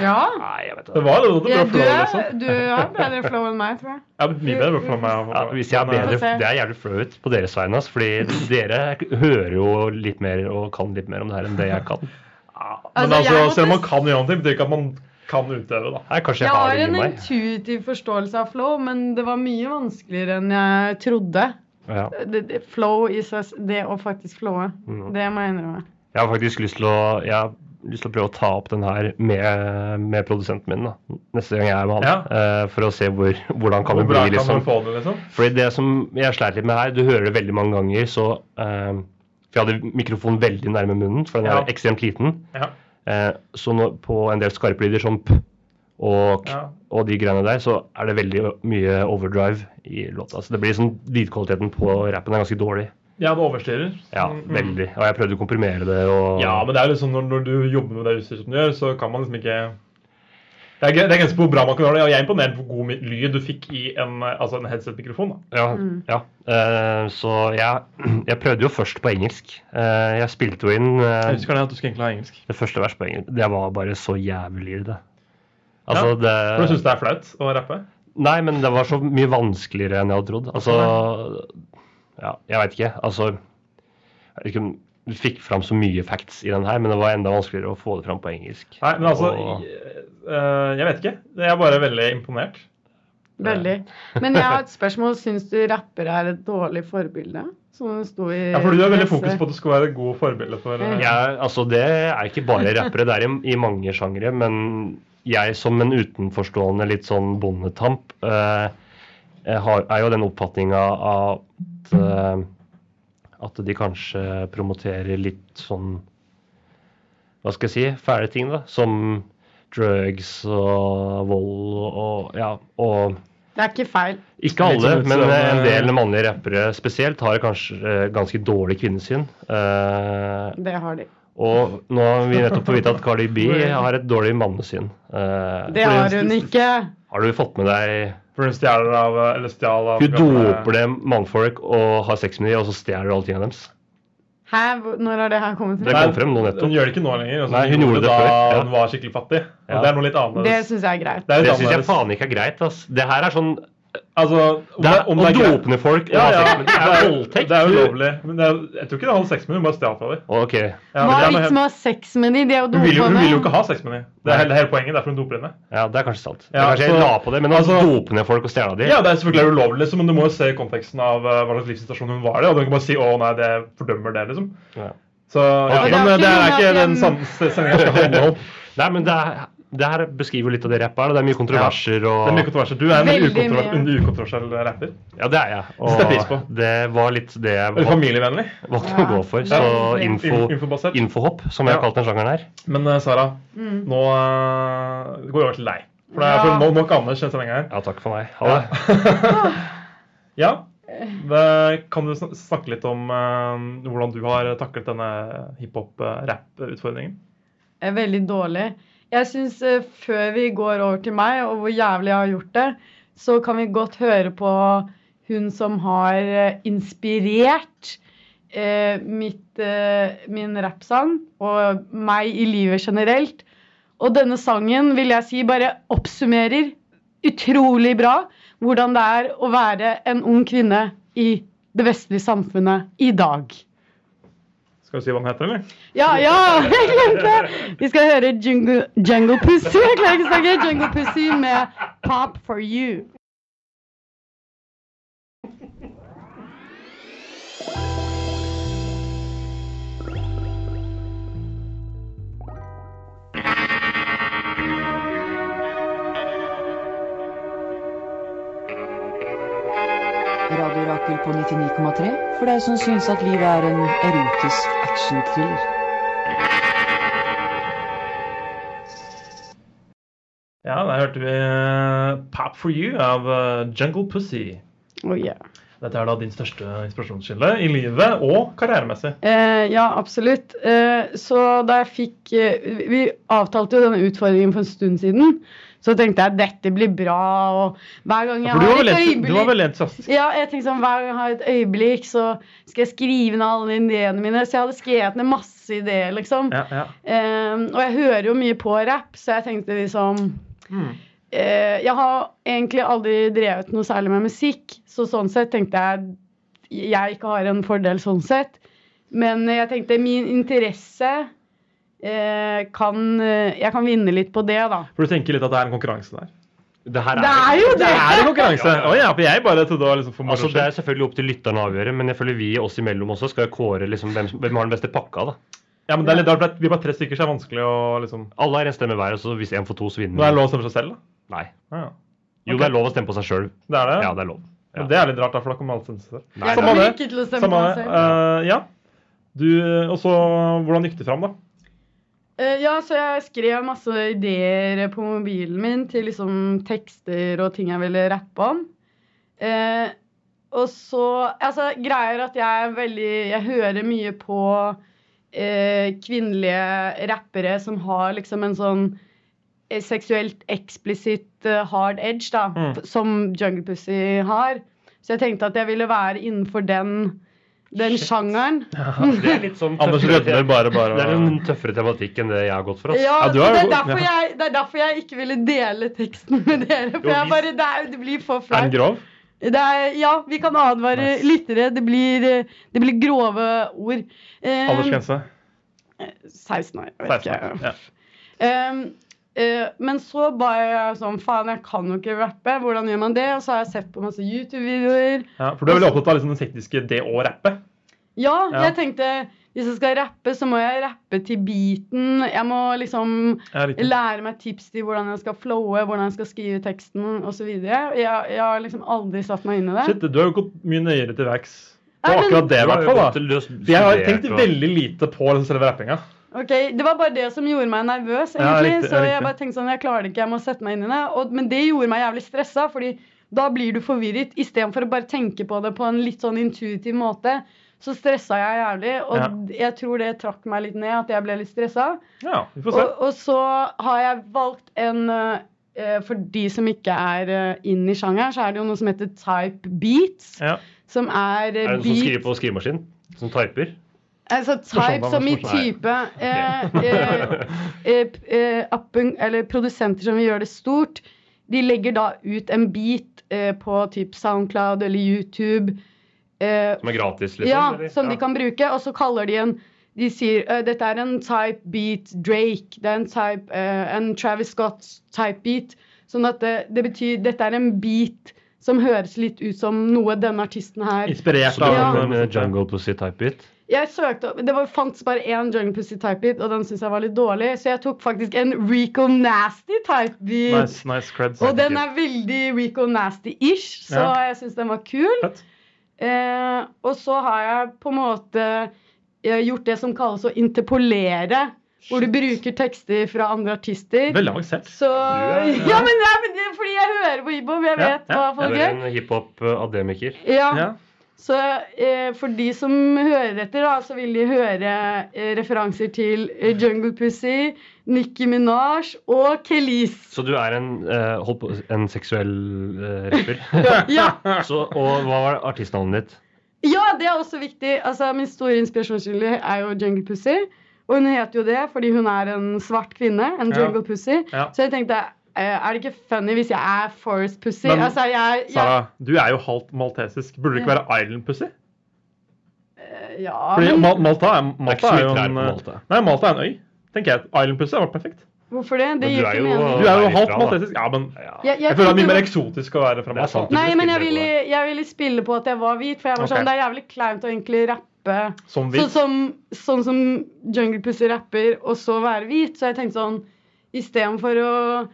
[SPEAKER 2] Ja.
[SPEAKER 4] Nei, jeg vet
[SPEAKER 3] Det
[SPEAKER 4] det.
[SPEAKER 3] var det, det
[SPEAKER 2] ja
[SPEAKER 3] var
[SPEAKER 2] du,
[SPEAKER 3] flow, liksom.
[SPEAKER 2] er, du har bedre flow enn meg,
[SPEAKER 3] *laughs*
[SPEAKER 2] tror jeg.
[SPEAKER 3] Ja, mye bedre for meg.
[SPEAKER 4] Ja, hvis jeg er
[SPEAKER 3] Men, eh,
[SPEAKER 4] bedre,
[SPEAKER 2] se.
[SPEAKER 4] det er jævlig flaut på deres vegne, ass, fordi dere hører jo litt mer og kan litt mer om det her enn det jeg kan.
[SPEAKER 3] Men
[SPEAKER 2] Altså,
[SPEAKER 3] altså,
[SPEAKER 2] jeg måtte-
[SPEAKER 3] selv om man kan gjøre noe, betyr ikke at man kan utøve, da.
[SPEAKER 4] Nei, kanskje
[SPEAKER 2] Jeg
[SPEAKER 4] jeg har
[SPEAKER 2] har
[SPEAKER 4] det
[SPEAKER 2] en
[SPEAKER 4] inni meg.
[SPEAKER 2] intuitiv forståelse av flow, men det var mye vanskeligere enn jeg trodde.
[SPEAKER 4] Ja.
[SPEAKER 2] Det, det, flow i seg, det å faktisk flowe,
[SPEAKER 4] Mm.
[SPEAKER 2] det må jeg innrømme.
[SPEAKER 4] Jeg har faktisk lyst til å jeg har lyst til å prøve å ta opp den her med, med produsenten min da. neste gang jeg er med han. eh, for å se hvor, hvordan kan
[SPEAKER 3] Hvor
[SPEAKER 4] det
[SPEAKER 3] bra
[SPEAKER 4] bli.
[SPEAKER 3] kan man
[SPEAKER 4] Liksom.
[SPEAKER 3] få det, liksom?
[SPEAKER 4] Fordi det som jeg sleit litt med her, du hører det veldig mange ganger, så eh, For jeg hadde mikrofonen veldig nærme munnen, for den er
[SPEAKER 3] Ja.
[SPEAKER 4] ekstremt liten.
[SPEAKER 3] Ja.
[SPEAKER 4] Eh, så nå, på en del skarpe lyder som p og, k
[SPEAKER 3] Ja.
[SPEAKER 4] og de greiene der, så er det veldig mye overdrive i låta. Så det blir sånn lydkvaliteten på rappen er ganske dårlig.
[SPEAKER 3] Ja, det overstyrer.
[SPEAKER 4] Ja, veldig. Og jeg prøvde å komprimere det og
[SPEAKER 3] Ja, men det er liksom når, når du jobber med det utstyret som du gjør, så kan man liksom ikke det er, gre- det er grenser på hvor bra man kan gjøre det. og Jeg er imponert på hvor god mi- lyd du fikk i en, eh, altså en headset-mikrofon. da.
[SPEAKER 4] Ja. ja. Eh, så jeg, *clears throat* jeg prøvde jo først på engelsk. Eh, jeg spilte jo inn eh,
[SPEAKER 3] Jeg husker det at du skulle egentlig ha engelsk.
[SPEAKER 4] det første vers på engelsk. Det var bare så jævlig det. Altså,
[SPEAKER 3] For du
[SPEAKER 4] det
[SPEAKER 3] syns det er flaut å rappe?
[SPEAKER 4] Nei, men det var så mye vanskeligere enn jeg hadde trodd. Altså Ja, jeg veit ikke. Altså Jeg vet ikke om du fikk fram så mye facts i den her, men det var enda vanskeligere å få det fram på engelsk.
[SPEAKER 3] Nei, men altså
[SPEAKER 4] Og-
[SPEAKER 3] Jeg, eh, jeg vet ikke. Jeg er bare veldig imponert.
[SPEAKER 2] Veldig. Men jeg har et spørsmål. Syns du rappere er et dårlig forbilde? Som det sto i
[SPEAKER 3] Ja, for du har veldig fokus på at du skal være et godt forbilde for eh,
[SPEAKER 4] Jeg, altså, det er ikke bare rappere, det er i, i mange sjangere. Men jeg som en utenforstående litt sånn bondetamp eh, jeg har, er jo den oppfatninga at eh, at de kanskje promoterer litt sånn Hva skal jeg si? Fæle ting, da. Som drugs og vold og ja. og
[SPEAKER 2] Det er ikke feil.
[SPEAKER 3] Litt
[SPEAKER 4] ikke alle,
[SPEAKER 3] sånn ut
[SPEAKER 4] men
[SPEAKER 3] som,
[SPEAKER 4] en
[SPEAKER 3] eh,
[SPEAKER 4] del mannlige rappere spesielt har kanskje eh, ganske dårlig kvinnesyn. Eh,
[SPEAKER 2] Det har de.
[SPEAKER 4] og nå har vi nettopp fått vite at Cardi B har et dårlig mannesyn. Eh,
[SPEAKER 2] Det har hun ikke.
[SPEAKER 4] har du fått med deg
[SPEAKER 3] For hun stjeler av eh, Eller stjal av
[SPEAKER 4] Hun doper det mannfolk og har sex med dem, og så stjeler du alle tingene deres.
[SPEAKER 2] Hæ? Hvor- Når har det her kommet
[SPEAKER 4] Det
[SPEAKER 2] fra?
[SPEAKER 3] Nei,
[SPEAKER 4] kom frem nå
[SPEAKER 3] Hun
[SPEAKER 4] nettopp.
[SPEAKER 3] gjør det ikke nå lenger. Altså,
[SPEAKER 4] Nei, hun gjorde det
[SPEAKER 3] da
[SPEAKER 4] før, ja.
[SPEAKER 3] hun var skikkelig fattig. Og
[SPEAKER 4] Ja.
[SPEAKER 3] Det er noe litt
[SPEAKER 2] Det
[SPEAKER 3] annerledes.
[SPEAKER 2] syns jeg er greit.
[SPEAKER 3] Det er litt
[SPEAKER 4] Det syns jeg
[SPEAKER 3] annerledes.
[SPEAKER 4] faen ikke er greit. ass. Det her er sånn
[SPEAKER 3] Altså, om
[SPEAKER 4] det
[SPEAKER 3] det,
[SPEAKER 4] er,
[SPEAKER 3] om
[SPEAKER 4] Å
[SPEAKER 3] det er greit-
[SPEAKER 4] dope ned folk og
[SPEAKER 3] Ja,
[SPEAKER 4] ha
[SPEAKER 3] ja.
[SPEAKER 4] sex med dem, det er voldtekt.
[SPEAKER 3] Det er ulovlig. Men det er, jeg tror ikke det er halv seks minutter, hun bare stjal fra dem.
[SPEAKER 4] Ok.
[SPEAKER 2] Hva er
[SPEAKER 3] Ja, det er noe
[SPEAKER 2] vitsen
[SPEAKER 3] helt-
[SPEAKER 2] med å ha sex med de? De er jo
[SPEAKER 3] hun, vil jo, hun vil jo ikke
[SPEAKER 2] dope.
[SPEAKER 3] ha sex med dem. Det er hele, hele poenget. Derfor hun doper henne.
[SPEAKER 4] Ja, det er kanskje sant. Det er
[SPEAKER 3] Ja,
[SPEAKER 4] kanskje jeg
[SPEAKER 3] så-
[SPEAKER 4] la på det, men å
[SPEAKER 3] altså-
[SPEAKER 4] dope ned folk og stjele dem
[SPEAKER 3] Ja, det er selvfølgelig ulovlig, liksom, men du må jo se i konteksten av eh, hva slags livssituasjon hun var i. Og du kan ikke bare si 'å nei, det fordømmer det', liksom.
[SPEAKER 4] Ja.
[SPEAKER 3] Så ja,
[SPEAKER 4] Ok.
[SPEAKER 3] men eh,
[SPEAKER 2] Og det er
[SPEAKER 3] det er
[SPEAKER 2] ikke
[SPEAKER 3] ikke
[SPEAKER 2] noe
[SPEAKER 3] den
[SPEAKER 2] at
[SPEAKER 3] samme sendinga skal
[SPEAKER 4] *laughs*
[SPEAKER 3] handle om.
[SPEAKER 4] Nei, men det, er, det her beskriver litt av det rappet her. da. Det er mye kontroverser og
[SPEAKER 3] Det er mye kontroverser. Du er en
[SPEAKER 2] Veldig
[SPEAKER 3] ukontrover-
[SPEAKER 2] mye.
[SPEAKER 3] en ukontroversiell eh, rapper.
[SPEAKER 4] Ja, det er jeg. Og
[SPEAKER 3] setter pris på.
[SPEAKER 4] det var litt det jeg
[SPEAKER 3] Eller
[SPEAKER 4] valg-
[SPEAKER 3] Familievennlig.
[SPEAKER 4] valgte å
[SPEAKER 2] Ja.
[SPEAKER 4] gå for. Så
[SPEAKER 2] Ja.
[SPEAKER 4] info,
[SPEAKER 3] In- infobasert.
[SPEAKER 4] infohopp, som jeg har
[SPEAKER 3] Ja.
[SPEAKER 4] kalt den sjangeren her.
[SPEAKER 3] Men eh, Sara, nå eh, går vi over til deg. For, det er,
[SPEAKER 2] Mm. Ja.
[SPEAKER 3] for nå, nå kan Anders denne sendinga her.
[SPEAKER 4] Ja, takk for meg. Ha det.
[SPEAKER 3] Ja. Det, kan du sn- snakke litt om eh, hvordan du har taklet denne hiphop-rapp-utfordringen?
[SPEAKER 2] er eh, veldig dårlig. Jeg syns før vi går over til meg, og hvor jævlig jeg har gjort det, så kan vi godt høre på hun som har eh, inspirert eh, mitt, eh, min rappsang og meg i livet generelt. Og denne sangen vil jeg si bare oppsummerer utrolig bra hvordan det er å være en ung kvinne i det vestlige samfunnet i dag.
[SPEAKER 3] Skal du si hva den heter, eller?
[SPEAKER 2] Ja, ja, *laughs*
[SPEAKER 3] *laughs*
[SPEAKER 2] jeg glemte! Vi skal høre Jungle, Jungle Pussy. Jeg klarer ikke å snakke Jungle Pussy med Pop for you.
[SPEAKER 6] Radio Rakel på 99,3 for deg som syns at livet er en erotisk actionthriller.
[SPEAKER 3] Ja, der hørte vi eh, 'Pop for you' av eh, Jungle Pussy.
[SPEAKER 2] Oh, yeah.
[SPEAKER 3] Dette er da din største inspirasjonskilde i livet og karrieremessig.
[SPEAKER 2] Eh, ja, absolutt. Eh, så da jeg fikk eh, vi- Vi avtalte jo denne utfordringen for en stund siden. Så tenkte jeg dette blir bra, og hver gang jeg
[SPEAKER 3] For du var
[SPEAKER 2] har et
[SPEAKER 3] veldig, du var
[SPEAKER 2] øyeblikk
[SPEAKER 3] veldig entusiastisk.
[SPEAKER 2] ja, jeg tenkte sånn, Hver gang jeg har et øyeblikk, så skal jeg skrive ned alle ideene mine. Så jeg hadde skrevet ned masse ideer, liksom.
[SPEAKER 3] Ja, ja.
[SPEAKER 2] Eh, og jeg hører jo mye på rapp, så jeg tenkte liksom
[SPEAKER 3] Mm.
[SPEAKER 2] eh, Jeg har egentlig aldri drevet noe særlig med musikk, så sånn sett tenkte jeg jeg ikke har en fordel sånn sett. Men jeg tenkte min interesse eh, kan eh, Jeg kan vinne litt på det, da.
[SPEAKER 3] For du tenker litt at det er en konkurranse der?
[SPEAKER 4] Det her
[SPEAKER 2] Det er jo det!
[SPEAKER 3] Det er en konkurranse!
[SPEAKER 4] Ja, ja, ja.
[SPEAKER 3] Å ja, for jeg bare trodde det var liksom for moro
[SPEAKER 4] Altså, det
[SPEAKER 3] skyld.
[SPEAKER 4] er selvfølgelig opp til lytterne å avgjøre, men jeg føler vi oss imellom også skal kåre liksom, hvem, som- hvem har den beste pakka. da.
[SPEAKER 3] Ja, men det er litt rart, for det- vi er bare tre stykker, så det er vanskelig å liksom
[SPEAKER 4] Alle har en stemme hver, og så hvis én får to, så vinner
[SPEAKER 3] Nå er det lov å stemme seg selv, da?
[SPEAKER 4] Nei.
[SPEAKER 3] Ja, ja.
[SPEAKER 4] Jo,
[SPEAKER 3] Ok.
[SPEAKER 4] det er lov å stemme på seg sjøl.
[SPEAKER 3] Det er det?
[SPEAKER 4] Ja, det er lov.
[SPEAKER 3] Men det er litt rart, da, for da kommer alle til å stemme seg selv.
[SPEAKER 2] Jeg
[SPEAKER 4] Nei, nei.
[SPEAKER 2] kommer
[SPEAKER 3] Samme det.
[SPEAKER 2] ikke til å stemme på
[SPEAKER 3] Samme
[SPEAKER 2] meg
[SPEAKER 3] det.
[SPEAKER 2] selv.
[SPEAKER 3] Eh, ja. Du, og så, hvordan gikk det fram, da?
[SPEAKER 2] Eh, ja, så jeg skrev masse ideer på mobilen min til liksom tekster og ting jeg ville rappe om. Eh, og så Altså, greier at jeg er veldig Jeg hører mye på eh, kvinnelige rappere som har liksom en sånn eh, seksuelt eksplisitt eh, hard edge, da,
[SPEAKER 3] Mm.
[SPEAKER 2] f- som Jungle Pussy har. Så jeg tenkte at jeg ville være innenfor den, den sjangeren.
[SPEAKER 4] Det er litt sånn
[SPEAKER 3] Anders
[SPEAKER 4] tøffere-
[SPEAKER 3] rødmer bare, bare.
[SPEAKER 4] Det er en tøffere tematikk enn det jeg har gått for. ass.
[SPEAKER 2] Ja,
[SPEAKER 3] Ja, du
[SPEAKER 2] så
[SPEAKER 3] har
[SPEAKER 2] det,
[SPEAKER 3] jo-
[SPEAKER 2] er derfor
[SPEAKER 3] ja.
[SPEAKER 2] jeg, det er derfor jeg ikke ville dele teksten med dere. For
[SPEAKER 4] Jo,
[SPEAKER 2] jeg
[SPEAKER 4] vi-
[SPEAKER 2] bare, det, er, det blir for
[SPEAKER 3] Er den
[SPEAKER 2] flaut.
[SPEAKER 3] grov?
[SPEAKER 2] Det er- Ja, vi kan advare
[SPEAKER 3] Nice.
[SPEAKER 2] lyttere. Det blir, eh, det blir grove ord. Eh,
[SPEAKER 3] Aldersgrense?
[SPEAKER 2] 16 år. Jeg vet
[SPEAKER 3] 16.
[SPEAKER 2] ikke.
[SPEAKER 3] Ja.
[SPEAKER 2] Ehm, eh, men så ba jeg sånn Faen, jeg kan jo ikke rappe. Hvordan gjør man det? Og så har jeg sett på masse YouTube-videoer.
[SPEAKER 3] Ja, for du er veldig opptatt av liksom den tekniske det å rappe.
[SPEAKER 2] Ja,
[SPEAKER 3] Ja.
[SPEAKER 2] jeg tenkte hvis jeg skal rappe, så må jeg rappe til beaten. Jeg må liksom
[SPEAKER 3] Ja, riktig.
[SPEAKER 2] lære meg tips til hvordan jeg skal flowe, hvordan jeg skal skrive teksten osv. Jeg, jeg har liksom aldri satt meg inn i det.
[SPEAKER 3] Shit, du har jo gått mye nøyere til verks på
[SPEAKER 2] Nei, men-
[SPEAKER 3] akkurat det, i hvert fall. da. For jeg har tenkt
[SPEAKER 4] studert, og-
[SPEAKER 3] veldig lite på liksom, selve rappinga.
[SPEAKER 2] Ok, Det var bare det som gjorde meg nervøs,
[SPEAKER 3] Ja,
[SPEAKER 2] egentlig.
[SPEAKER 3] riktig, ja,
[SPEAKER 2] så
[SPEAKER 3] riktig.
[SPEAKER 2] jeg bare tenkte sånn, jeg klarer det ikke, jeg må sette meg inn i det. Og, men det gjorde meg jævlig stressa, fordi da blir du forvirret. Istedenfor å bare tenke på det på en litt sånn intuitiv måte, så stressa jeg jævlig. Og jeg tror det trakk meg litt ned, at jeg ble litt stressa.
[SPEAKER 3] Ja, vi får se.
[SPEAKER 2] Og, og så har jeg valgt en eh, For de som ikke er eh, inn i sjangeren, så er det jo noe som heter type beats.
[SPEAKER 3] Ja.
[SPEAKER 2] Som er, eh,
[SPEAKER 4] Er det noen som
[SPEAKER 2] beat
[SPEAKER 4] skriver på skrivemaskin? Som typer?
[SPEAKER 2] Altså type
[SPEAKER 3] Morsomt,
[SPEAKER 2] som i
[SPEAKER 3] morsomt.
[SPEAKER 2] type eh, eh, eh, eh, appen- Eller produsenter som vil gjøre det stort, de legger da ut en beat eh, på typ SoundCloud eller YouTube. Eh,
[SPEAKER 4] Som er gratis, liksom? eller?
[SPEAKER 2] ja, som de kan bruke. Og så kaller de en De sier eh, dette er en type beat Drake. Det er en type eh, En Travis Scott type beat. Sånn at det, det betyr dette er en beat som høres litt ut som noe denne artisten her
[SPEAKER 3] Inspirert
[SPEAKER 4] Så det
[SPEAKER 3] av
[SPEAKER 2] Ja.
[SPEAKER 4] er en eh, Jungle Pussy type-bit?
[SPEAKER 2] Jeg søkte opp, Det var, fantes bare én Jungle Pussy type beat, og den syntes jeg var litt dårlig, så jeg tok faktisk en Rico Nasty type beat.
[SPEAKER 3] Nice, nice creds.
[SPEAKER 2] Og den er veldig Rico Nasty-ish, så
[SPEAKER 3] Ja.
[SPEAKER 2] jeg syns den var kul.
[SPEAKER 3] Fett.
[SPEAKER 2] Eh, og så har jeg på en måte eh, gjort det som kalles å interpolere, hvor du bruker tekster fra andre artister.
[SPEAKER 3] Veldig avansert.
[SPEAKER 2] Så
[SPEAKER 4] Du er-
[SPEAKER 2] *laughs* Ja, men, ja, men det er fordi jeg hører på hiphop, jeg
[SPEAKER 3] Ja,
[SPEAKER 2] vet
[SPEAKER 3] ja.
[SPEAKER 2] hva
[SPEAKER 4] Jeg
[SPEAKER 2] folk
[SPEAKER 4] er
[SPEAKER 2] gjør.
[SPEAKER 4] en eh, hiphop-ademiker.
[SPEAKER 2] Ja.
[SPEAKER 3] Ja.
[SPEAKER 2] Så eh, for de som hører etter, da, så vil de høre eh, referanser til eh, Jungle Pussy, Nicki Minaj og Kelis.
[SPEAKER 4] Så du er en, eh, hold på, en seksuell eh, rapper?
[SPEAKER 3] *laughs*
[SPEAKER 2] Ja,
[SPEAKER 4] Så, og hva var artistnavnet ditt?
[SPEAKER 2] ja, det er også viktig. Altså, min store inspirasjonskilde er jo Jungle Pussy. Og hun heter jo det fordi hun er en svart kvinne. En
[SPEAKER 3] Ja.
[SPEAKER 2] jungle pussy.
[SPEAKER 3] Ja.
[SPEAKER 2] Så jeg tenkte eh, er det ikke funny hvis jeg er Forest Pussy?
[SPEAKER 3] Men,
[SPEAKER 2] altså, jeg, jeg,
[SPEAKER 3] Sara, du er jo halvt maltesisk. Burde du ikke
[SPEAKER 2] Ja.
[SPEAKER 3] være island pussy?
[SPEAKER 2] ja,
[SPEAKER 3] Fordi
[SPEAKER 2] men,
[SPEAKER 3] Mal Malta er,
[SPEAKER 4] Det er
[SPEAKER 3] Malta
[SPEAKER 4] ikke så
[SPEAKER 3] er jo
[SPEAKER 4] mye trær
[SPEAKER 3] en
[SPEAKER 4] på
[SPEAKER 3] eh,
[SPEAKER 4] Malta.
[SPEAKER 3] Nei, Malta er en øy. Tenker jeg at Island pussy hadde vært perfekt.
[SPEAKER 2] hvorfor det? Det
[SPEAKER 4] Men
[SPEAKER 2] gir
[SPEAKER 4] du er
[SPEAKER 2] ikke
[SPEAKER 4] jo-
[SPEAKER 2] mening.
[SPEAKER 3] Du er jo
[SPEAKER 4] Nei,
[SPEAKER 3] halvt
[SPEAKER 4] fra, da.
[SPEAKER 3] maltesisk. Ja, men
[SPEAKER 4] Ja.
[SPEAKER 2] Jeg- jeg
[SPEAKER 3] jeg føler det er
[SPEAKER 2] tenkte
[SPEAKER 3] mye mer
[SPEAKER 2] jo-
[SPEAKER 3] eksotisk å være altså, fra
[SPEAKER 4] Det er
[SPEAKER 3] Malta.
[SPEAKER 4] sant. Du
[SPEAKER 2] Nei,
[SPEAKER 4] burde
[SPEAKER 2] men
[SPEAKER 4] spille
[SPEAKER 2] jeg
[SPEAKER 4] på
[SPEAKER 2] ville,
[SPEAKER 4] det.
[SPEAKER 2] jeg ville spille på at jeg var hvit, for jeg var
[SPEAKER 3] Ok.
[SPEAKER 2] sånn, det er jævlig kleint å egentlig rappe
[SPEAKER 3] Som vi.
[SPEAKER 2] sånn som, sånn som Jungle Pussy rapper, og så være hvit. Så jeg tenkte sånn Istedenfor å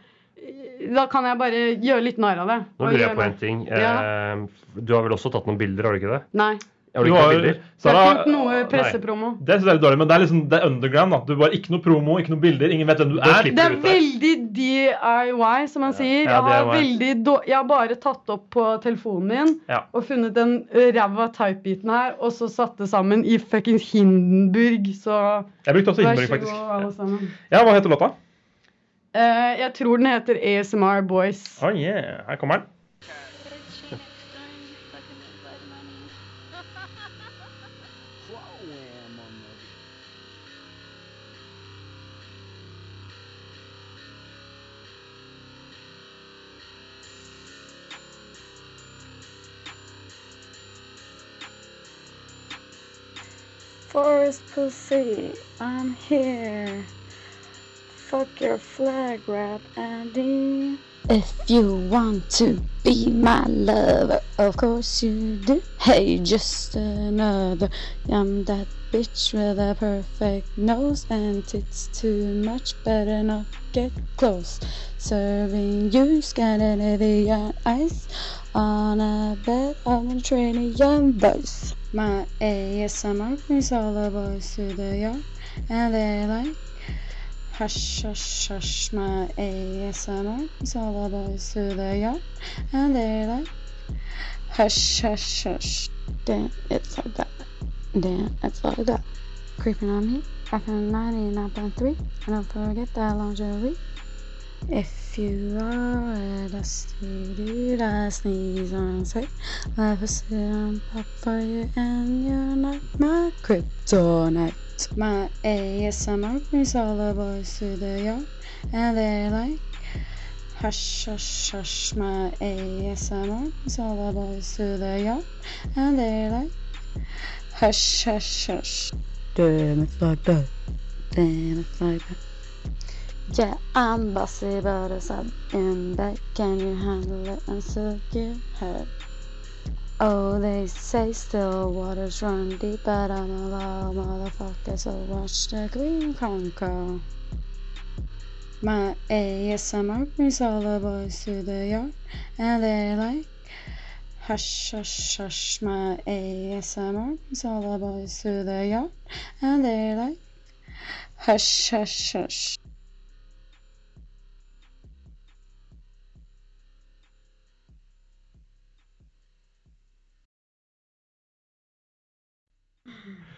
[SPEAKER 2] Da kan jeg bare gjøre litt narr av det.
[SPEAKER 4] Nå
[SPEAKER 2] og
[SPEAKER 4] lurer
[SPEAKER 2] gjøre
[SPEAKER 4] jeg på
[SPEAKER 2] meg-
[SPEAKER 4] en ting.
[SPEAKER 2] Ja.
[SPEAKER 4] Eh, Du har vel også tatt noen bilder, har du ikke det?
[SPEAKER 2] Nei.
[SPEAKER 4] Jeg har
[SPEAKER 3] Du
[SPEAKER 4] ikke
[SPEAKER 3] har-
[SPEAKER 4] noen bilder.
[SPEAKER 2] Det er
[SPEAKER 3] Sara-
[SPEAKER 2] ikke noe
[SPEAKER 3] Nei.
[SPEAKER 2] pressepromo.
[SPEAKER 3] Det synes jeg er litt dårlig, men det er liksom det er underground. da. Du bare Ikke noe promo, ikke noe bilder, ingen vet hvem du er.
[SPEAKER 2] Det er veldig DIY, som man sier.
[SPEAKER 3] Ja,
[SPEAKER 2] Jeg har,
[SPEAKER 3] DIY.
[SPEAKER 2] veldig då- jeg har bare tatt opp på telefonen min
[SPEAKER 3] Ja.
[SPEAKER 2] og funnet den eh, ræva typebiten her, og så satt det sammen i fuckings Hindenburg. Så
[SPEAKER 3] Jeg brukte også
[SPEAKER 2] vær
[SPEAKER 3] Hindenburg,
[SPEAKER 2] så god, alle
[SPEAKER 3] faktisk.
[SPEAKER 2] sammen.
[SPEAKER 3] Ja, hva heter låta?
[SPEAKER 2] Eh, jeg tror den heter ASMR Boys.
[SPEAKER 3] Oh yeah, her kommer den.
[SPEAKER 7] Forest pussy, I'm here. Fuck your flag rap, Andy. If you want to be my lover, of course you do. Hey, just another. I'm that bitch with a perfect nose, and it's too much. Better not get close. Serving you Scandinavian ice on a bed of Mediterranean boys. My ASMR brings all the boys to the yard, and they like hush, hush, hush. My ASMR brings all the boys to the yard, and they like hush, hush, hush. Then it's like that. Then it's like that. Creeping on me. FM 99.3. And don't forget that longevity. If you are a dusty dude, I sneeze on sight. I was on pop for you, and you're not my kryptonite. My ASMR brings all the boys to the yard, and they're like, hush, hush, hush. My ASMR brings all the boys to the yard, and they're like, hush, hush, hush. Damn, it's like that. Damn, it's like that. Yeah, I'm bossy, but it's up in back. Can you handle it and still give her? Oh, they say still waters run deep, but I'm a loud motherfucker, so watch the green conquer. My ASMR brings all the boys to the yard, and they're like, hush, hush, hush. My ASMR brings all the boys to the yard, and they're like, hush, hush, hush.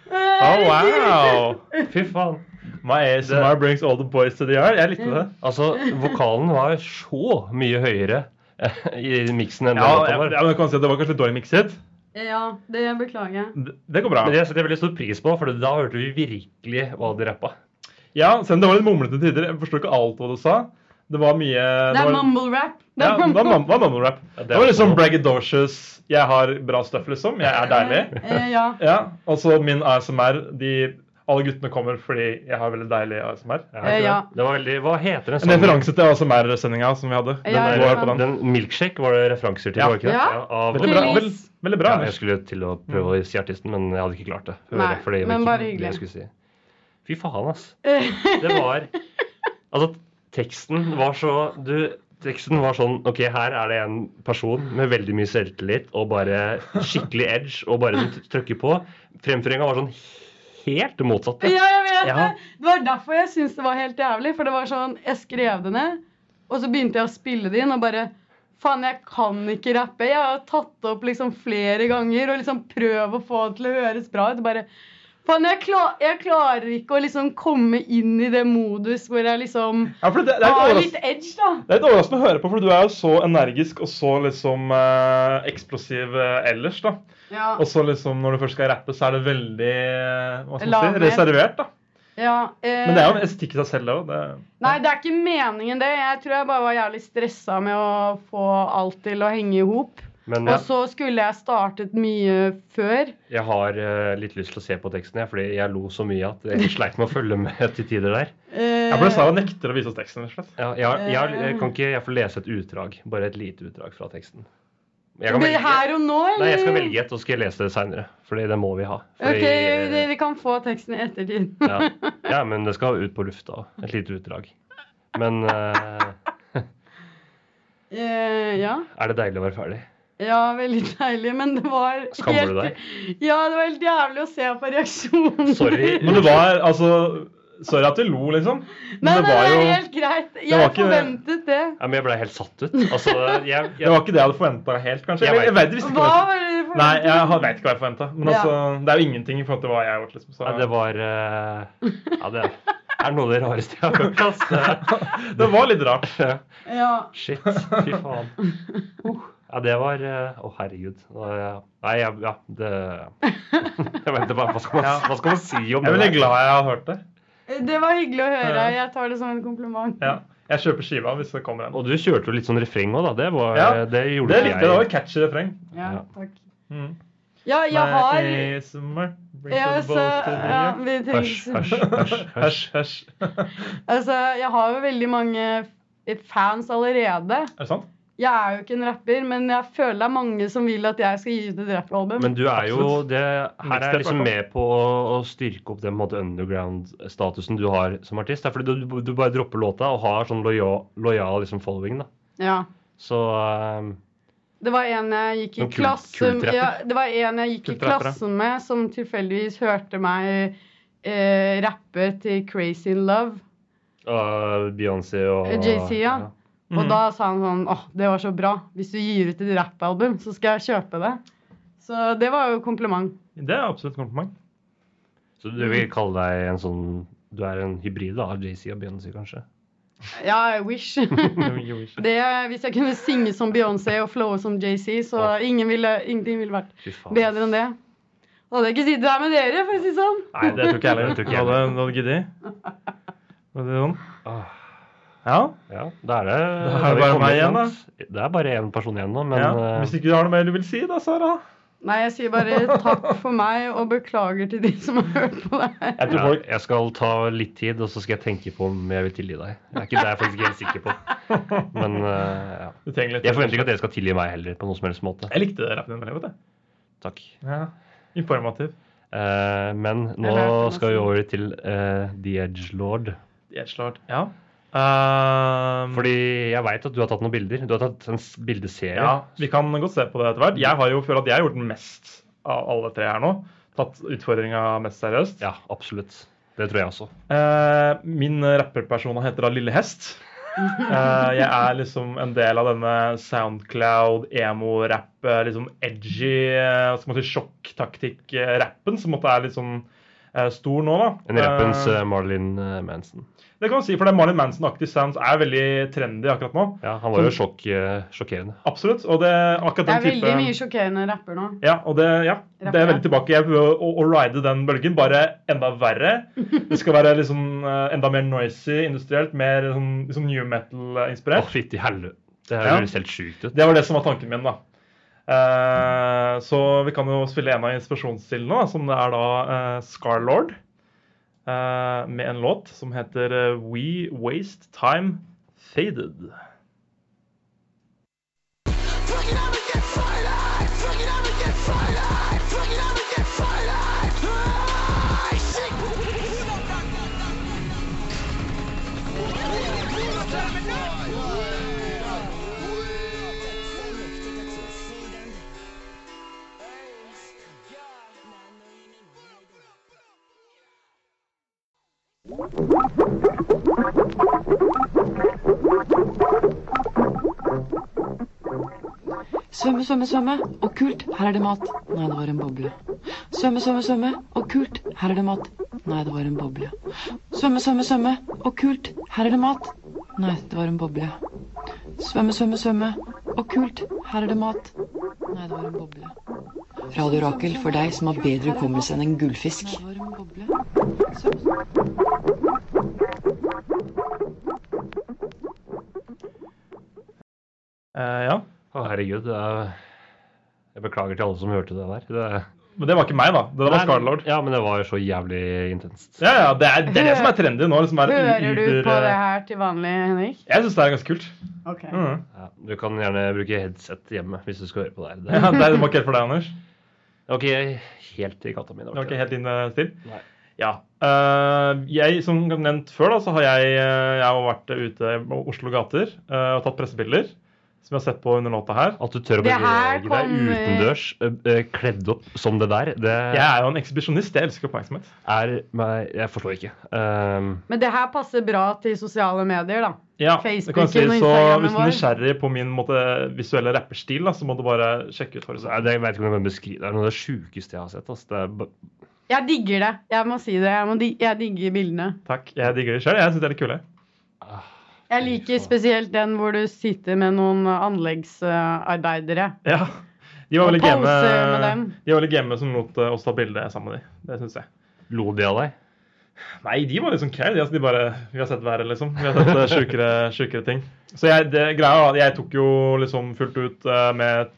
[SPEAKER 3] Oh,
[SPEAKER 2] *laughs*
[SPEAKER 3] wow!
[SPEAKER 4] Fy faen.
[SPEAKER 3] My ASMR brings all the boys to the yard. Jeg likte det.
[SPEAKER 4] Altså, vokalen var så mye høyere eh, i miksen enn
[SPEAKER 3] Ja,
[SPEAKER 4] den
[SPEAKER 3] jeg,
[SPEAKER 4] låta var.
[SPEAKER 3] jeg, kan si at Det var kanskje litt dårlig mikset.
[SPEAKER 2] Ja, det beklager jeg.
[SPEAKER 3] Det det går bra.
[SPEAKER 4] Men det setter jeg veldig stor pris på, for da hørte vi virkelig hva de rappa.
[SPEAKER 3] Ja, Selv om det var litt mumlete til tider. Jeg forstår ikke alt hva du sa. Det var mye
[SPEAKER 2] Det er
[SPEAKER 3] var-
[SPEAKER 2] mumble rap. Det
[SPEAKER 3] Ja,
[SPEAKER 2] er
[SPEAKER 3] det var
[SPEAKER 2] mumble-
[SPEAKER 3] mum- det var mumble rap.
[SPEAKER 4] Ja, det
[SPEAKER 3] Det var
[SPEAKER 4] er
[SPEAKER 3] liksom
[SPEAKER 4] mumble.
[SPEAKER 3] braggadocious. Jeg har bra stuff, liksom. Jeg er deilig.
[SPEAKER 2] Eh, ja.
[SPEAKER 3] Ja, Og så min ASMR. De, alle guttene kommer fordi jeg har veldig deilig ASMR.
[SPEAKER 4] Er ikke
[SPEAKER 2] Eh, ja.
[SPEAKER 4] det? Det var veldig, hva heter den
[SPEAKER 3] En referanse til ASMR-sendinga som vi hadde. Den
[SPEAKER 2] Ja, ja.
[SPEAKER 3] der, gå og hør på den.
[SPEAKER 4] Den milkshake var det referanser til,
[SPEAKER 3] Ja.
[SPEAKER 4] var det ikke det?
[SPEAKER 2] Ja.
[SPEAKER 4] av,
[SPEAKER 3] Veldig bra.
[SPEAKER 2] Release.
[SPEAKER 3] Veld, veldig bra.
[SPEAKER 4] Ja, jeg
[SPEAKER 3] Anders.
[SPEAKER 4] skulle til å prøve å si artisten, men jeg hadde ikke klart det.
[SPEAKER 2] Nei,
[SPEAKER 4] for det var
[SPEAKER 2] men
[SPEAKER 4] ikke
[SPEAKER 2] bare
[SPEAKER 4] det
[SPEAKER 2] hyggelig.
[SPEAKER 4] jeg skulle Si. Fy faen, ass.
[SPEAKER 2] Eh, *laughs*
[SPEAKER 4] Det var Altså, teksten var så Du, teksten var sånn OK, her er det en person med veldig mye selvtillit og bare skikkelig edge og bare som trykker på. Fremføringa var sånn helt det motsatte.
[SPEAKER 2] *laughs* Ja, jeg vet
[SPEAKER 4] Ja.
[SPEAKER 2] det! Det var derfor jeg syntes det var helt jævlig. For det var sånn, jeg skrev det ned, og så begynte jeg å spille det inn, og bare Faen, jeg kan ikke rappe. Jeg har tatt det opp liksom flere ganger og liksom prøvd å få det til å høres bra ut. og Bare Faen, jeg, kla- jeg klarer ikke å liksom komme inn i det modus hvor jeg liksom
[SPEAKER 3] Ja, for det, det, er litt
[SPEAKER 2] har
[SPEAKER 3] overras-
[SPEAKER 2] litt edge, da.
[SPEAKER 3] det er litt overraskende å høre på, for du er jo så energisk og så liksom eh, eksplosiv eh, ellers, da.
[SPEAKER 2] Ja.
[SPEAKER 3] Og så liksom når du først skal rappe, så er det veldig eh, hva skal man
[SPEAKER 2] Lavmælt.
[SPEAKER 3] si, reservert, da.
[SPEAKER 2] ja eh,
[SPEAKER 3] Men det er jo en estetikk i seg selv, det òg.
[SPEAKER 2] Nei, det er ikke meningen, det. Jeg tror jeg bare var jævlig stressa med å få alt til å henge i hop.
[SPEAKER 4] Men
[SPEAKER 2] Og
[SPEAKER 4] jeg,
[SPEAKER 2] så skulle jeg startet mye før.
[SPEAKER 4] jeg har eh, litt lyst til å se på teksten, jeg, fordi jeg lo så mye at jeg sleit med å følge med til tider der.
[SPEAKER 2] Eh,
[SPEAKER 3] Ja, for Sara nekter å vise oss teksten. rett og slett.
[SPEAKER 4] Ja, jeg, jeg, jeg kan ikke jeg får lese et utdrag, bare et lite utdrag fra teksten. Jeg kan
[SPEAKER 2] det
[SPEAKER 4] velge-
[SPEAKER 2] her og nå, eller?
[SPEAKER 4] Nei, jeg skal velge et, og så skal jeg lese det seinere. Fordi det må vi ha. Fordi,
[SPEAKER 2] Ok, vi, vi kan få teksten i ettertid. *laughs*
[SPEAKER 4] ja. ja, men det skal ut på lufta òg. Et lite utdrag. Men eh,
[SPEAKER 2] Eh, ja.
[SPEAKER 4] er det deilig å være ferdig?
[SPEAKER 2] Eh, Ja, veldig deilig, men det var
[SPEAKER 4] Skammer du deg?
[SPEAKER 2] Ja, det var helt jævlig å se på reaksjonen.
[SPEAKER 4] Sorry.
[SPEAKER 2] *laughs*
[SPEAKER 3] Men det var altså Sorry at du lo, liksom.
[SPEAKER 2] Nei,
[SPEAKER 3] Men det
[SPEAKER 2] nei,
[SPEAKER 3] var
[SPEAKER 2] det
[SPEAKER 3] jo
[SPEAKER 2] er helt greit. Jeg
[SPEAKER 3] var ikke-
[SPEAKER 2] forventet det.
[SPEAKER 4] Ja, men jeg ble helt satt ut. Altså, jeg,
[SPEAKER 3] Det var ikke det jeg hadde forventa helt, kanskje.
[SPEAKER 4] Jeg
[SPEAKER 3] *laughs* Jeg, jeg,
[SPEAKER 4] vet-
[SPEAKER 3] vet- visste ikke
[SPEAKER 2] Hva
[SPEAKER 3] hva
[SPEAKER 2] var det du
[SPEAKER 3] Nei,
[SPEAKER 2] forventet?
[SPEAKER 3] jeg har- vet ikke hva jeg forventa. Men
[SPEAKER 2] Ja.
[SPEAKER 3] altså, det er jo ingenting i forhold til hva jeg har gjort. liksom. Så.
[SPEAKER 4] Nei, det var eh, Ja, det er noe av det rareste jeg har hørt. ass.
[SPEAKER 3] det var litt rart.
[SPEAKER 4] *laughs* Det-
[SPEAKER 2] Ja.
[SPEAKER 4] Shit. Fy faen. Uh, ja, det var eh, Å, herregud. Nå er jeg- Nei, jeg, ja, det *laughs* Jeg vet ikke bare hva skal man, hva skal man si om
[SPEAKER 3] Jeg er
[SPEAKER 4] det?
[SPEAKER 3] veldig
[SPEAKER 4] der?
[SPEAKER 3] glad jeg har hørt det.
[SPEAKER 2] Det var hyggelig å høre.
[SPEAKER 3] Ja.
[SPEAKER 2] Jeg tar det som en kompliment.
[SPEAKER 3] Ja. Jeg kjøper skiva hvis det kommer en.
[SPEAKER 4] Og du kjørte jo litt sånn refreng òg, da. Det, var,
[SPEAKER 3] Ja,
[SPEAKER 4] det gjorde
[SPEAKER 3] Det
[SPEAKER 4] ikke
[SPEAKER 3] likte jeg. Det var et catchy refreng.
[SPEAKER 2] Ja,
[SPEAKER 4] Ja.
[SPEAKER 2] takk.
[SPEAKER 3] Mm.
[SPEAKER 2] Ja, jeg har
[SPEAKER 3] Nei, summer, brings
[SPEAKER 2] ja,
[SPEAKER 3] us
[SPEAKER 2] altså,
[SPEAKER 3] both to the
[SPEAKER 2] ja,
[SPEAKER 3] year.
[SPEAKER 2] vi
[SPEAKER 4] Hysj,
[SPEAKER 2] trenger,
[SPEAKER 4] hysj, hysj. hysj.
[SPEAKER 3] Høsj, høsj.
[SPEAKER 2] altså, jeg har jo veldig mange fans allerede.
[SPEAKER 3] Er det sant?
[SPEAKER 2] Jeg er jo ikke en rapper, men jeg føler det er mange som vil at jeg skal gi ut et rappalbum.
[SPEAKER 4] Men du er jo
[SPEAKER 3] Absolutt.
[SPEAKER 4] det, Her er
[SPEAKER 3] Mixtape,
[SPEAKER 4] jeg liksom
[SPEAKER 3] hvertfall.
[SPEAKER 4] med på å, å styrke opp den på en måte underground-statusen du har som artist. Det er fordi du, du bare dropper låta og har sånn lojal, lojal liksom following. da.
[SPEAKER 2] Ja.
[SPEAKER 4] Så ehm,
[SPEAKER 2] Det var en jeg gikk i
[SPEAKER 4] En kul-
[SPEAKER 2] klasse
[SPEAKER 4] kultrapper.
[SPEAKER 2] ja, Det var en jeg gikk i
[SPEAKER 3] Kultrapper, ja.
[SPEAKER 2] klassen med, som tilfeldigvis hørte meg eh, rappe til Crazy in Love.
[SPEAKER 4] øh, Beyoncé og
[SPEAKER 2] JC, Eh, ja. Og
[SPEAKER 3] Mhm.
[SPEAKER 2] da sa han sånn åh, det var så bra. Hvis du gir ut et rappalbum, så skal jeg kjøpe det. Så det var jo kompliment.
[SPEAKER 3] Det er absolutt en *laughs* kompliment.
[SPEAKER 4] Så du vil kalle deg en sånn Du er en hybrid da, av JC og Beyoncé, kanskje?
[SPEAKER 2] Ja, I wish.
[SPEAKER 3] *laughs*
[SPEAKER 2] det, hvis jeg kunne synge som Beyoncé og flowe som JC, så
[SPEAKER 4] Åh.
[SPEAKER 2] ingen ville, ingenting ville vært
[SPEAKER 4] Fy faen.
[SPEAKER 2] bedre enn det. Da hadde jeg ikke sittet her med dere, for å si det sånn.
[SPEAKER 4] Nei, det tror ikke jeg heller. det tror ikke jeg heller.
[SPEAKER 3] Hadde, hadde giddet. Var det sånn?
[SPEAKER 4] Åh,
[SPEAKER 3] Ja.
[SPEAKER 4] Ja, da er det
[SPEAKER 3] Da er det bare meg igjen,
[SPEAKER 4] da. Det er bare én person igjen nå, men
[SPEAKER 3] ja.
[SPEAKER 4] øh,
[SPEAKER 3] Hvis ikke du har noe mer du vil si, da, Sara?
[SPEAKER 2] Nei, jeg sier bare takk for meg, og beklager til de som har hørt på det her.
[SPEAKER 4] Jeg, tror jeg skal ta litt tid, og så skal jeg tenke på om jeg vil tilgi deg. Det er ikke det er jeg faktisk ikke helt sikker på. Men eh, ja.
[SPEAKER 3] Du trenger litt
[SPEAKER 4] Jeg forventer ikke at dere skal tilgi meg heller, på noen som helst måte.
[SPEAKER 3] Jeg likte det rappen din veldig godt. jeg.
[SPEAKER 4] Takk.
[SPEAKER 3] Ja. Informativ.
[SPEAKER 4] Eh, men nå
[SPEAKER 2] Jeg lærte
[SPEAKER 4] skal vi over til eh, The Edge Lord.
[SPEAKER 3] Edgelord. Ja. Ehm,
[SPEAKER 4] Fordi jeg veit at du har tatt noen bilder. Du har tatt en s- bildeserie.
[SPEAKER 3] ja, vi kan godt se på det etter hvert. Jeg har jo føler at jeg har gjort mest av alle tre her nå. Tatt utfordringa mest seriøst.
[SPEAKER 4] Ja, absolutt. Det tror jeg også.
[SPEAKER 3] Eh, min rapperpersona heter da Lille Hest. Eh, jeg er liksom en del av denne Soundcloud, emo-rapp, eh, liksom edgy eh, hva skal man si, sjokktaktikk-rappen, som måtte er litt sånn eh, stor nå, da.
[SPEAKER 4] En rappens
[SPEAKER 3] Eh,
[SPEAKER 4] eh, Marilyn eh, Manson.
[SPEAKER 3] det kan man si, for det Marlin Manson-aktig sounds er veldig trendy akkurat nå.
[SPEAKER 4] Ja, han var jo sjokk, eh, sjokkerende.
[SPEAKER 3] Absolutt. Og det akkurat
[SPEAKER 2] Det er
[SPEAKER 3] den
[SPEAKER 2] veldig
[SPEAKER 3] type
[SPEAKER 2] mye sjokkerende rapper nå.
[SPEAKER 3] ja, og det, ja, det er
[SPEAKER 2] Rapp, ja.
[SPEAKER 3] veldig tilbake. Jeg prøver å, å ride den bølgen, bare enda verre.
[SPEAKER 2] *laughs*
[SPEAKER 3] Det skal være liksom eh, enda mer noisy industrielt, mer sånn, liksom new
[SPEAKER 4] Å,
[SPEAKER 3] metal-inspirert.
[SPEAKER 4] fytti helvete. Det
[SPEAKER 3] Ja.
[SPEAKER 4] høres helt sjukt ut.
[SPEAKER 3] Det var det som var tanken min, da. Eh, så vi kan jo spille en av inspirasjonsstilene, da, som det er da eh, Scarlord. eh, med en låt som heter eh, We Waste Time Faded.
[SPEAKER 6] Svømme, svømme, svømme. Og kult, her er det mat. Nei, det var en boble. Svømme, svømme, svømme. Og kult, her er det mat. Nei, det var en boble. Svømme, svømme, svømme. Og kult, her er det mat. Nei, det var en boble. Svømme, svømme, svømme. Og kult, her er det mat. Nei, det var en boble. Radio Rakel for deg som har bedre hukommelse enn en gullfisk. Nei, det var en boble.
[SPEAKER 3] Eh, ja.
[SPEAKER 4] Å, herregud. Det er... Jeg beklager til alle som hørte det der. Det...
[SPEAKER 3] Men det var ikke meg, da. Det var Scarlord.
[SPEAKER 4] Ja, men det var så jævlig intenst.
[SPEAKER 3] Ja, ja, det er, det er det som er trendy nå. Liksom er
[SPEAKER 2] Hører du
[SPEAKER 3] uber-
[SPEAKER 2] på
[SPEAKER 8] eh,
[SPEAKER 2] det her til vanlig, Henrik?
[SPEAKER 3] Jeg syns det er ganske kult.
[SPEAKER 2] Ok.
[SPEAKER 8] Mm.
[SPEAKER 3] Mhm.
[SPEAKER 4] Ja, du kan gjerne bruke headset hjemme hvis du skal høre på det her. Det
[SPEAKER 3] Ja, det var ikke helt for deg, Anders.
[SPEAKER 4] det var ikke helt i katta mi.
[SPEAKER 3] Det var ikke helt din eh, stil.
[SPEAKER 4] Nei.
[SPEAKER 3] Ja. Eh, jeg, som nevnt før, da, så har jeg, eh, jeg har vært ute i Oslo gater eh, og tatt pressebilder. som jeg har sett på under låta her.
[SPEAKER 4] At du tør å
[SPEAKER 2] Det her
[SPEAKER 4] bevege deg
[SPEAKER 2] kommer-
[SPEAKER 4] utendørs, eh, eh, kledd opp som det der, det
[SPEAKER 3] Jeg er jo en ekshibisjonist. Jeg elsker oppmerksomhet.
[SPEAKER 4] er meg Jeg forstår ikke. Ehm,
[SPEAKER 2] Men det her passer bra til sosiale medier, da.
[SPEAKER 3] Ja, det kan
[SPEAKER 2] Facebooken
[SPEAKER 3] jeg si,
[SPEAKER 2] og
[SPEAKER 3] så
[SPEAKER 2] Instagramen
[SPEAKER 3] Hvis du er
[SPEAKER 2] vår.
[SPEAKER 3] nysgjerrig på min måte, visuelle rapperstil, da, så må du bare sjekke ut
[SPEAKER 4] nei,
[SPEAKER 3] Horisont.
[SPEAKER 4] det, jeg vet ikke om jeg kan beskrive det. Det er noe av det sjukeste jeg har sett. ass. Det er ba-
[SPEAKER 2] Jeg digger det. Jeg må si det. Jeg, må dig jeg digger bildene.
[SPEAKER 3] Takk. Jeg digger det sjøl. Jeg syns det er litt kule.
[SPEAKER 2] Jeg
[SPEAKER 4] Fy
[SPEAKER 2] liker
[SPEAKER 4] faen.
[SPEAKER 2] spesielt den hvor du sitter med noen eh, anleggsarbeidere.
[SPEAKER 3] Ja. De var
[SPEAKER 2] Og
[SPEAKER 3] veldig game,
[SPEAKER 2] poser med dem.
[SPEAKER 3] de var veldig game som lot eh, oss ta bilde sammen med de. Det syns jeg.
[SPEAKER 4] Lo de av deg?
[SPEAKER 3] Nei, de var liksom care. De, altså, de bare Vi har sett verre, liksom. Vi har sett eh, sjukere, sjukere ting. Så jeg, det, greia var at jeg tok jo liksom fullt ut eh, med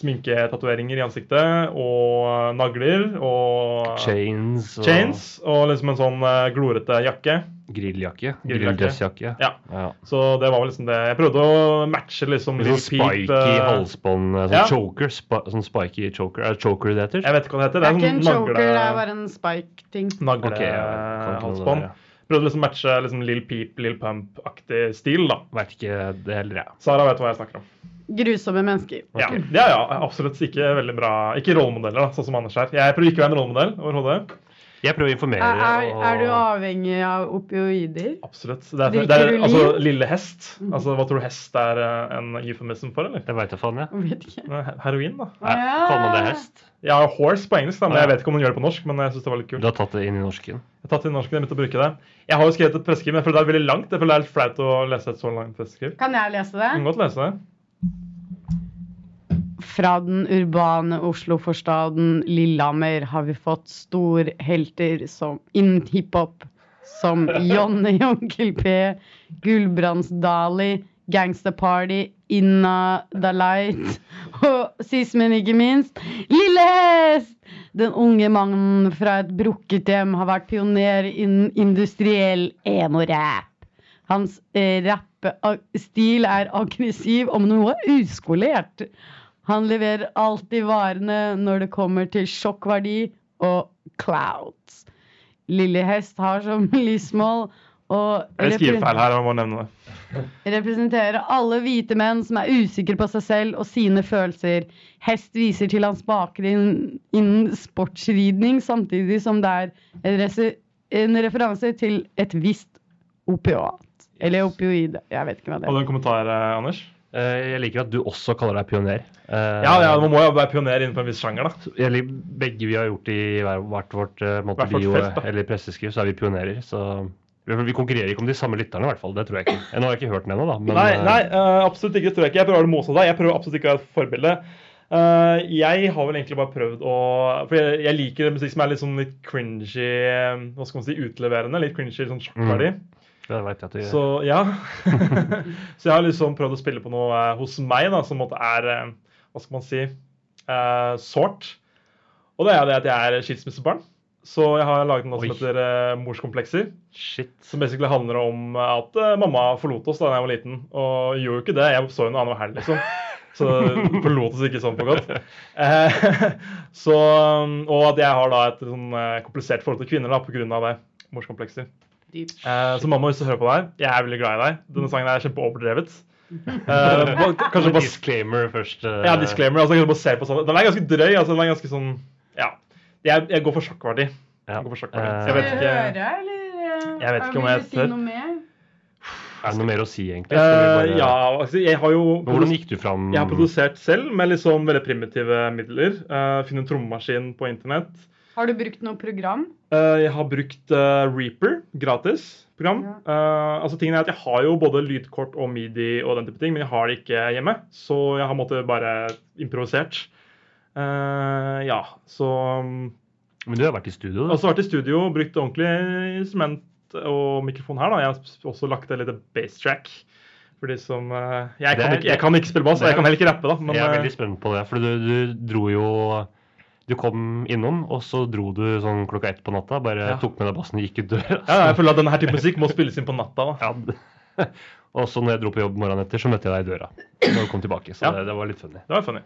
[SPEAKER 3] sminketatoveringer i ansiktet og eh, nagler og
[SPEAKER 4] Chains og
[SPEAKER 3] chains og liksom en sånn eh, glorete jakke.
[SPEAKER 4] grilljakke.
[SPEAKER 3] Grilljakke.
[SPEAKER 4] Grilldressjakke.
[SPEAKER 3] Ja.
[SPEAKER 4] Ja.
[SPEAKER 3] Så det var vel liksom det. Jeg prøvde å matche liksom
[SPEAKER 4] Litt
[SPEAKER 3] Lil
[SPEAKER 4] sånn
[SPEAKER 3] Peep,
[SPEAKER 4] spiky
[SPEAKER 3] eh,
[SPEAKER 4] halsbånd, eh, sånn
[SPEAKER 3] ja.
[SPEAKER 4] choker. Spa, sånn spiky choker. Er det choker det heter?
[SPEAKER 3] Jeg vet ikke hva det heter.
[SPEAKER 2] Det er ikke
[SPEAKER 3] Det er
[SPEAKER 2] en
[SPEAKER 3] sånn
[SPEAKER 2] choker, det er
[SPEAKER 3] nagle...
[SPEAKER 2] bare en spike-ting.
[SPEAKER 4] Ok,
[SPEAKER 3] eh,
[SPEAKER 4] jeg kan ikke noe om
[SPEAKER 3] Naglehalsbånd.
[SPEAKER 4] det der,
[SPEAKER 3] Prøvde liksom å matche liksom Lill Peep, Lill Pump-aktig stil, da.
[SPEAKER 4] jeg. Vet ikke det heller, jeg.
[SPEAKER 3] Sara vet hva jeg snakker om.
[SPEAKER 2] Grusomme mennesker.
[SPEAKER 3] Ja, ja, ja, absolutt. Ikke veldig bra Ikke rollemodeller, da, sånn som Anders her. Jeg prøver ikke å være en rollemodell overhodet.
[SPEAKER 4] Jeg prøver å informere.
[SPEAKER 2] Er, er,
[SPEAKER 4] og-
[SPEAKER 2] er du avhengig av opioider?
[SPEAKER 3] Absolutt. Det er,
[SPEAKER 2] Drikker
[SPEAKER 3] det er
[SPEAKER 2] du
[SPEAKER 3] altså
[SPEAKER 2] liv?
[SPEAKER 3] lille hest. Altså, Hva tror du hest er eh, en euphemism for, eller?
[SPEAKER 4] Det veit jeg faen, jeg.
[SPEAKER 2] Vet ikke.
[SPEAKER 3] Nei, he- Heroin, da.
[SPEAKER 4] Ja. Kaller man det hest?
[SPEAKER 3] Ja, horse på engelsk, da, men jeg vet ikke om hun gjør det på norsk. Men jeg synes det var litt kult.
[SPEAKER 4] Du har tatt det inn i norsken.
[SPEAKER 3] Jeg har tatt inn norsken, jeg begynte å bruke det. Jeg har jo skrevet et presseskriv, men jeg føler det er veldig langt. Jeg føler det er litt flaut å lese et så langt presseskriv.
[SPEAKER 2] Kan jeg lese
[SPEAKER 3] Du kan
[SPEAKER 2] det?
[SPEAKER 3] godt lese det.
[SPEAKER 2] Fra den urbane Oslo-forstaden Lillehammer har vi fått storhelter som innen hiphop, som Johnny Onkel P, Gulbrandsdali, Gangsta Party, Inna Dalight og sist, men ikke minst, Lille Hest! Den unge mannen fra et brukket hjem har vært pioner innen industriell emo-rap. Hans eh, rappstil er aggressiv om noe uskolert. Han leverer alltid varene når det kommer til sjokkverdi og clouds. Lille Hest har som *laughs* livsmål å
[SPEAKER 3] Jeg skriver
[SPEAKER 2] repre-
[SPEAKER 3] feil her, jeg må nevne det.
[SPEAKER 2] representere alle hvite menn som er usikre på seg selv og sine følelser. Hest viser til hans bakgrunn innen sportsridning, samtidig som det er en, rese- en referanse til et visst opiat. Eller opioid. Jeg vet ikke hva det
[SPEAKER 3] Hadde
[SPEAKER 2] er.
[SPEAKER 3] du en kommentar, eh, Anders?
[SPEAKER 4] Eh, jeg liker at du også kaller deg pioner. Eh,
[SPEAKER 3] Ja, ja, man må jo være pioner innenfor en viss sjanger, da.
[SPEAKER 4] jeg lik- begge vi har gjort i hver- hvert vårt eh, måte,
[SPEAKER 3] Hvert vårt
[SPEAKER 4] bio
[SPEAKER 3] felt, da.
[SPEAKER 4] eller presseskriv, så er vi pionerer. Så vi vi konkurrerer ikke om de samme lytterne, i hvert fall. Det tror jeg ikke. Eh, Nå har jeg ikke hørt den ennå, da. Men,
[SPEAKER 3] nei,
[SPEAKER 4] eh,
[SPEAKER 3] nei eh, absolutt ikke. Det tror jeg ikke. Jeg prøver å motstå deg. Jeg prøver absolutt ikke å være et forbilde. Eh, jeg har vel egentlig bare prøvd å For jeg, jeg liker musikk som er litt sånn litt cringy eh, Hva skal man si? Utleverende. Litt cringy,
[SPEAKER 4] Mm.
[SPEAKER 3] sånn sjokkverdi.
[SPEAKER 4] det vet jeg at du gjør.
[SPEAKER 3] Så ja. *laughs* så jeg har liksom prøvd å spille på noe eh, hos meg da, som på en måte er eh, Hva skal man si? eh, sårt. Og det er jo det at jeg er skilsmissebarn. Så jeg har laget noe som
[SPEAKER 4] Oi.
[SPEAKER 3] heter eh, Morskomplekser.
[SPEAKER 4] Shit.
[SPEAKER 3] Som basically handler om at eh, mamma forlot oss da jeg var liten. Og gjorde jo ikke det. Jeg så henne annenhver helg, liksom. Så forlot oss ikke sånn på godt. Eh, *laughs* så, um, og at jeg har da et sånn eh, komplisert forhold til kvinner da, pga. det. Morskomplekser. Eh, så mamma, hvis du hører på deg, jeg er veldig glad i deg. Denne sangen er kjempeoverdrevet. Eh, bare-
[SPEAKER 4] *laughs*
[SPEAKER 3] kanskje bare
[SPEAKER 4] disclaimer først. eh,
[SPEAKER 3] ja, disclaimer. altså kanskje bare se på sånn. Den er ganske drøy. altså Den er ganske sånn Ja. Jeg, jeg går for sjokkverdi.
[SPEAKER 4] ja.
[SPEAKER 3] Jeg går for sjokkverdi.
[SPEAKER 4] Eh,
[SPEAKER 3] Jeg vet ikke
[SPEAKER 2] eller? eh,
[SPEAKER 3] Jeg vet ikke om jeg
[SPEAKER 2] Vil du si
[SPEAKER 3] tør.
[SPEAKER 2] noe mer?
[SPEAKER 4] Er det noe mer å si, egentlig? Skal vi
[SPEAKER 3] Eh,
[SPEAKER 4] bare-
[SPEAKER 3] Ja, altså, jeg har jo
[SPEAKER 4] Men Hvordan gikk du fram?
[SPEAKER 3] Jeg har produsert selv med liksom veldig primitive midler. Uh, Finne en trommemaskin på internett.
[SPEAKER 2] Har du brukt noe program?
[SPEAKER 3] Eh, jeg har brukt eh, Reaper, gratis program. Eh, altså tingen er at Jeg har jo både lydkort og medie og den type ting, men jeg har det ikke hjemme. Så jeg har måttet bare improvisert. Eh, ja, så um,
[SPEAKER 4] Men du har vært i studio, da.
[SPEAKER 3] Og så vært i studio, brukt ordentlig instrument og mikrofon her. da. Jeg har s- også lagt til et lite bass track. For de som eh, jeg,
[SPEAKER 4] Det
[SPEAKER 3] kan
[SPEAKER 4] er-
[SPEAKER 3] ikke, jeg kan ikke spille bass, og jeg
[SPEAKER 4] det er-
[SPEAKER 3] kan heller ikke rappe, da. Men
[SPEAKER 4] jeg er
[SPEAKER 3] eh,
[SPEAKER 4] veldig spent på det, for du, du dro jo Du kom innom, og så dro du sånn klokka ett på natta. Bare
[SPEAKER 3] Ja.
[SPEAKER 4] tok med deg bassen og gikk ut døra.
[SPEAKER 3] ja, jeg føler at denne her type musikk må spilles inn på natta. da.
[SPEAKER 4] *laughs* Ja. Og så når jeg dro på jobb morgenen etter, så møtte jeg deg i døra. Når du kom tilbake, Så
[SPEAKER 3] Ja.
[SPEAKER 4] det, det var litt funny.
[SPEAKER 3] Det var funny.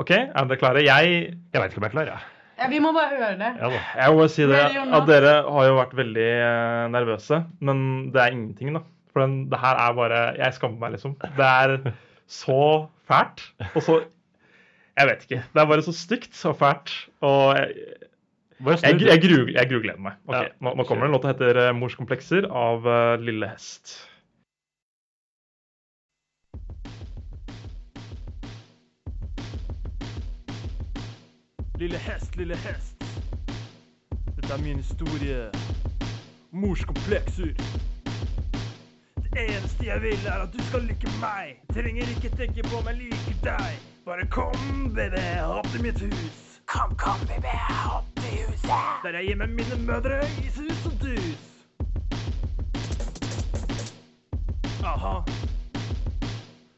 [SPEAKER 3] OK, er dere klare? Jeg
[SPEAKER 4] Jeg veit ikke om jeg er klar, jeg.
[SPEAKER 2] Ja, vi må bare høre det.
[SPEAKER 4] Ja. da.
[SPEAKER 3] Jeg må bare si det,
[SPEAKER 2] Veldig unna.
[SPEAKER 3] at dere har jo vært veldig eh,
[SPEAKER 4] *laughs*
[SPEAKER 3] nervøse, men det er ingenting, da. For den, det her er bare Jeg skammer meg, liksom. Det er så fælt. Og så Jeg vet ikke. Det er bare så stygt og fælt. Og jeg,
[SPEAKER 4] Bare snu
[SPEAKER 3] jeg,
[SPEAKER 4] det.
[SPEAKER 3] jeg, gru- jeg grugleder meg. Ok,
[SPEAKER 4] Ja.
[SPEAKER 3] nå, nå kommer det en låt som heter eh, 'Mors komplekser' av eh, Lille Hest.
[SPEAKER 8] Lille hest, lille hest. Dette er min historie. Mors komplekser. Det eneste jeg vil, er at du skal like meg. Trenger ikke tenke på om jeg liker deg. Bare kom, baby, opp til mitt hus. Kom, kom, baby, opp til huset. Der jeg gir meg mine mødre i sus og dus. Aha.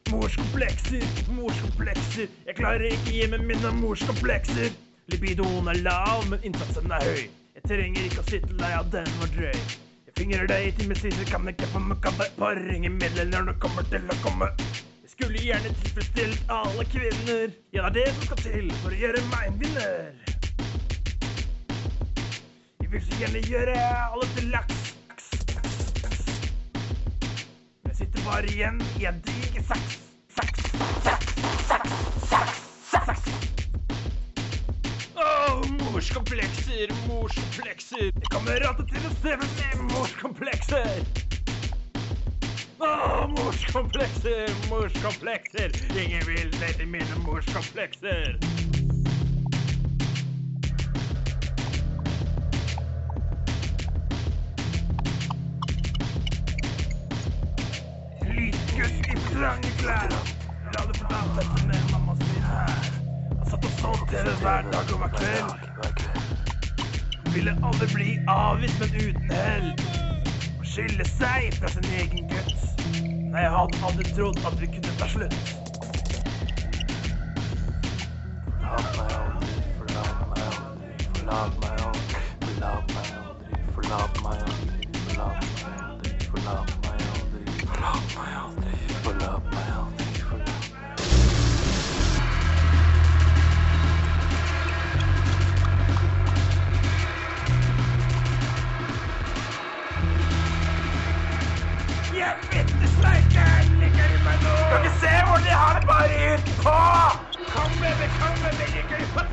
[SPEAKER 8] Morskomplekser, morskomplekser. Jeg klarer ikke gi meg mine morskomplekser. Libidoen er lav, men innsatsen er høy. Jeg trenger ikke å sitte lei av den var drøy. Jeg fingrer deg i timevis, jeg kan ikke få møkk av deg. Par ringer middel når du kommer til å komme. Jeg skulle gjerne tilfredsstilt alle kvinner. Ja, det er det som skal til for å gjøre meg en vinner. Jeg vil så gjerne gjøre alle til laks. laks, laks, laks. Jeg sitter bare igjen i en diger saks. Saks, saks, saks, saks, saks. Åh, morskomplekser, morskomplekser. Jeg kommer alltid til å streve med morskomplekser. Åh, morskomplekser, morskomplekser. Ingen vil date mine morskomplekser. Lysgutt i trange klær. La det fortalt dette med mamma sin her. Han satt og så TV hver dag og hver kveld. Ville aldri bli avvist, men uten hell. Å skille seg fra sin egen gutt. Nei, jeg hadde aldri trodd at vi kunne ta slutt. Forlat meg aldri, forlat meg aldri, forlat meg aldri, forlat meg aldri, forlat meg aldri, forlat meg aldri, forlat meg aldri, forlat meg aldri, forlat meg aldri, forlat meg aldri. Jeg bitte sleiken ligger i meg nå. Kan ikke se hvor de har det bare utenpå. Kom med meg, kom med meg, ligger i meg.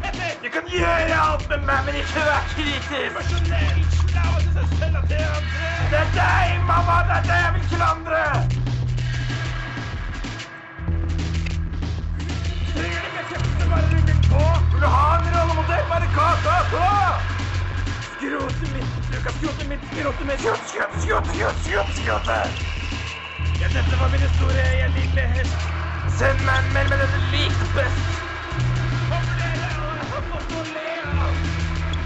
[SPEAKER 8] Du kan gjøre alt med meg, men ikke vær kritisk. Emosjonell, slava til seg selv og til andre. Det er deg, mamma, det er deg jeg vil klandre. Trenger du ikke kjefte, bare rugger den på. Vil du ha en rollemodell, bare kaka på. Skrotet mitt, du kan skrote mitt, skrote mitt. Skrote, skrote, skrote, skrote, skrote, skrote. Ja, dette var min historie, jeg liker det helst. Send meg en mail med dette likte best. Håper dere alle har fått noe å le av.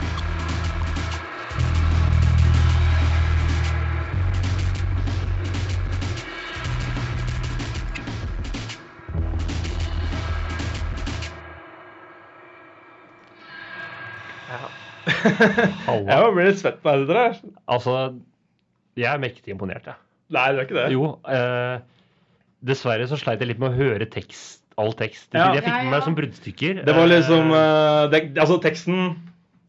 [SPEAKER 4] Halla.
[SPEAKER 3] Jeg blir litt svett på hendene. dere.
[SPEAKER 4] Altså, jeg er mektig imponert, jeg.
[SPEAKER 3] Nei, det er ikke det.
[SPEAKER 4] Jo, eh, dessverre så sleit jeg litt med å høre tekst, all tekst.
[SPEAKER 3] Ja.
[SPEAKER 4] Jeg fikk
[SPEAKER 2] Ja,
[SPEAKER 4] med
[SPEAKER 2] ja.
[SPEAKER 4] meg som bruddstykker.
[SPEAKER 3] Det var liksom
[SPEAKER 4] Eh,
[SPEAKER 3] eh, det, Altså, teksten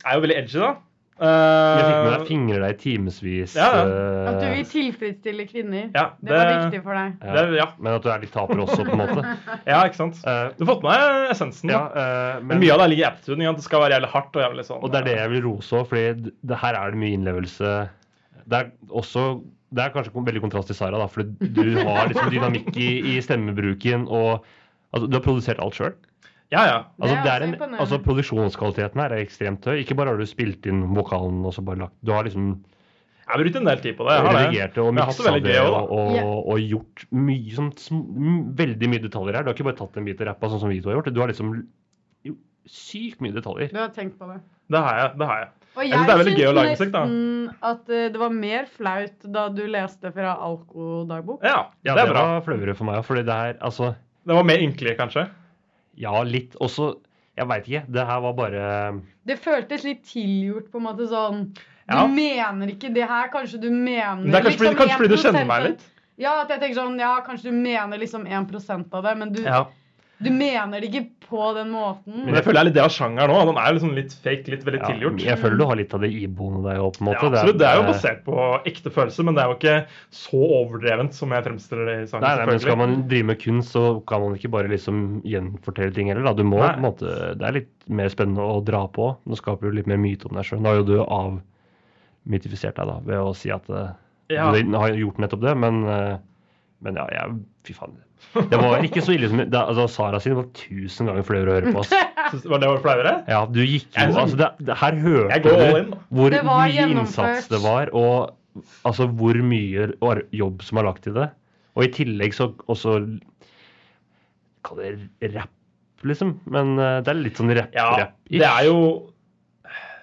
[SPEAKER 3] er jo veldig edgy, da.
[SPEAKER 4] Jeg fikk med
[SPEAKER 3] Eh,
[SPEAKER 4] meg fingre deg timevis.
[SPEAKER 3] Ja,
[SPEAKER 2] At du vil
[SPEAKER 4] eh,
[SPEAKER 2] tilfredsstille kvinner.
[SPEAKER 3] ja,
[SPEAKER 2] Det var viktig for deg.
[SPEAKER 4] ja.
[SPEAKER 3] Det, ja,
[SPEAKER 4] Men at du er litt taper også, på
[SPEAKER 3] *laughs*
[SPEAKER 4] en måte.
[SPEAKER 3] ja, ikke sant.
[SPEAKER 4] Eh,
[SPEAKER 3] Du har fått med deg essensen.
[SPEAKER 4] ja,
[SPEAKER 3] da.
[SPEAKER 4] eh,
[SPEAKER 3] Men mye av det ligger i attituden. ikke sant? Det skal være jævlig hardt. Og jævlig sånn.
[SPEAKER 4] Og det er det jeg vil rose òg, for det her er det mye innlevelse. Det er også det er kanskje veldig kontrast til Sara, da, for du har liksom dynamikk i, i stemmebruken. og altså, Du har produsert alt sjøl.
[SPEAKER 3] Ja, ja.
[SPEAKER 2] Det
[SPEAKER 4] Altså,
[SPEAKER 2] er
[SPEAKER 4] det er
[SPEAKER 2] også
[SPEAKER 4] en-
[SPEAKER 2] imponerende.
[SPEAKER 4] altså, produksjonskvaliteten her er ekstremt høy. Ikke bare har du spilt inn vokalen og så bare lagt Du har liksom
[SPEAKER 3] Jeg har brukt en del tid på det. Jeg har det.
[SPEAKER 4] redigert det og
[SPEAKER 3] Jeg har hatt det
[SPEAKER 4] miksa
[SPEAKER 3] veldig
[SPEAKER 4] det
[SPEAKER 3] gøy også,
[SPEAKER 4] og,
[SPEAKER 3] da.
[SPEAKER 4] og,
[SPEAKER 2] Ja.
[SPEAKER 4] og gjort mye sånn sm- m- veldig mye detaljer her. Du har ikke bare tatt en bit og rappa sånn som vi to har gjort. Du har liksom jo, sykt mye detaljer.
[SPEAKER 2] Du har tenkt på det.
[SPEAKER 3] Det har jeg. det har jeg.
[SPEAKER 2] Og
[SPEAKER 3] synes det er veldig gøy å lage musikk, da.
[SPEAKER 2] nesten at eh, det var mer flaut da du leste fra Alko-dagbok.
[SPEAKER 3] Ja,
[SPEAKER 4] Ja,
[SPEAKER 3] det er bra.
[SPEAKER 4] var flauere for meg òg, fordi det her altså
[SPEAKER 3] Det var mer ynkelig, kanskje.
[SPEAKER 4] Ja, litt. Også Jeg veit ikke. Det her var bare
[SPEAKER 2] Det føltes litt tilgjort, på en måte sånn Du
[SPEAKER 3] Ja.
[SPEAKER 2] mener ikke det her, kanskje du mener liksom
[SPEAKER 3] Men det er kanskje, fordi, kanskje fordi du
[SPEAKER 2] 1%
[SPEAKER 3] kjenner meg litt.
[SPEAKER 2] Ja, at jeg tenker sånn Ja, kanskje du mener liksom 1 av det, men du
[SPEAKER 3] Ja.
[SPEAKER 2] Du mener det ikke på den måten.
[SPEAKER 3] Men jeg føler det er litt det av sjangeren òg. Den er liksom litt fake, litt veldig
[SPEAKER 4] Ja,
[SPEAKER 3] tilgjort.
[SPEAKER 4] Jeg føler du har litt av det iboende deg òg, på en
[SPEAKER 3] Ja,
[SPEAKER 4] måte.
[SPEAKER 3] absolutt. Det er jo basert på ekte følelser, men det er jo ikke så overdrevent som jeg fremstiller det i sangen.
[SPEAKER 4] Nei, nei, men
[SPEAKER 3] selvfølgelig.
[SPEAKER 4] skal man drive med kunst, så kan man ikke bare liksom gjenfortelle ting heller. Da. Du må
[SPEAKER 3] Nei.
[SPEAKER 4] på en måte Det er litt mer spennende å dra på. Nå skaper du litt mer myte om deg sjøl. Nå har jo du avmytifisert deg da, ved å si at eh,
[SPEAKER 3] Ja.
[SPEAKER 4] du har gjort nettopp det, men, eh, men ja, jeg, fy faen. Det var ikke så ille som det, altså, Sara sin var tusen ganger flauere å høre på. Ass.
[SPEAKER 3] Synes- Var det flauere?
[SPEAKER 4] Ja, du gikk jo
[SPEAKER 3] Jeg er sånn-
[SPEAKER 4] altså, det, det, Her hørte
[SPEAKER 3] Jeg går all in, da.
[SPEAKER 4] du hvor
[SPEAKER 2] Det var
[SPEAKER 4] mye
[SPEAKER 2] gjennomført.
[SPEAKER 4] innsats det var, og altså hvor mye ar- jobb som er lagt i det. Og i tillegg så også Kall det rapp, liksom. Men eh, det er litt sånn rapp
[SPEAKER 3] Ja,
[SPEAKER 4] rapp
[SPEAKER 3] det er jo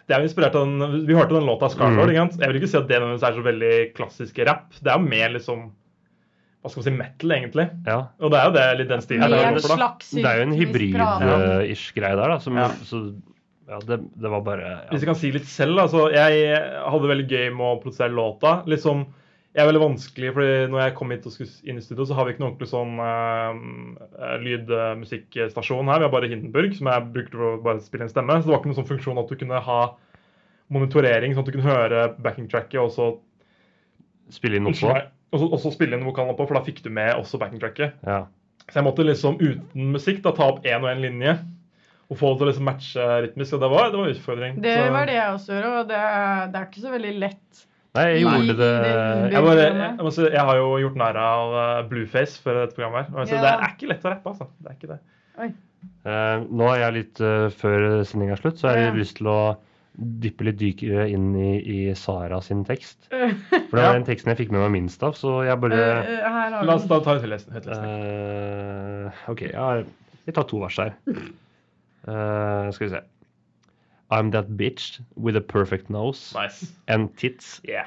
[SPEAKER 3] det er jo inspirert av den, Vi hørte den låta Scarlord.
[SPEAKER 4] Mm.
[SPEAKER 3] ikke sant? Jeg vil ikke si at det nødvendigvis er så veldig klassisk rapp. Det er jo mer liksom Hva skal man si metal, egentlig.
[SPEAKER 4] ja.
[SPEAKER 3] Og det er jo det, litt den stilen.
[SPEAKER 4] det er
[SPEAKER 2] Mer
[SPEAKER 3] jeg går for, da.
[SPEAKER 2] slags
[SPEAKER 4] Det er jo en
[SPEAKER 2] rytmisk prate.
[SPEAKER 4] hybrid-ish greie der, da. Som,
[SPEAKER 3] Ja.
[SPEAKER 4] Så ja, det, det var bare
[SPEAKER 3] Hvis
[SPEAKER 4] ja.
[SPEAKER 3] jeg kan si litt selv, da, så jeg hadde veldig gøy med å produsere låta. Liksom, jeg er veldig vanskelig, fordi når jeg kom hit og skulle inn i studio, så har vi ikke noen ordentlig sånn eh, lydmusikkstasjon her. Vi har bare Hindenburg, som jeg brukte for å bare spille inn stemme. Så det var ikke noen sånn funksjon at du kunne ha monitorering, sånn at du kunne høre backing tracket og så
[SPEAKER 4] spille inn noe på.
[SPEAKER 3] Unnskyld meg. Og så- og så spille inn vokalen oppå, for da fikk du med også backing tracket.
[SPEAKER 4] Ja.
[SPEAKER 3] Så jeg måtte liksom uten musikk da ta opp én og én linje og få det til å liksom matche rytmisk. Og det var, det var en utfordring.
[SPEAKER 2] Det
[SPEAKER 3] Så-
[SPEAKER 2] var det jeg også gjorde, og det, det er ikke så veldig lett.
[SPEAKER 4] Nei, jeg
[SPEAKER 2] Nei,
[SPEAKER 4] gjorde
[SPEAKER 2] det-
[SPEAKER 4] det
[SPEAKER 3] Jeg, bare, jeg,
[SPEAKER 2] programmet.
[SPEAKER 3] må si, jeg har jo gjort narr av eh, Blueface før dette programmet her. Og jeg
[SPEAKER 2] Ja.
[SPEAKER 3] sier, Det er ikke lett å rappe, altså. Det er ikke det.
[SPEAKER 4] Eh, nå er jeg litt eh, før sendinga er slutt, så har jeg
[SPEAKER 2] Ja.
[SPEAKER 4] lyst til å dyppe litt dykere inn i, i Sara sin tekst.
[SPEAKER 3] Eh,
[SPEAKER 2] Øh,
[SPEAKER 4] For det var
[SPEAKER 3] Ja.
[SPEAKER 4] den teksten jeg fikk med meg minst av, så jeg
[SPEAKER 2] øh,
[SPEAKER 4] bare
[SPEAKER 2] øh, *laughs* Her har
[SPEAKER 3] La oss
[SPEAKER 2] vi
[SPEAKER 3] da ta en høytlesning. høytlesning.
[SPEAKER 4] eh, OK, jeg, har, jeg tar to vers her. Eh, skal vi se. I'm that bitch with a perfect nose
[SPEAKER 3] Nice.
[SPEAKER 4] and tits
[SPEAKER 3] Yeah.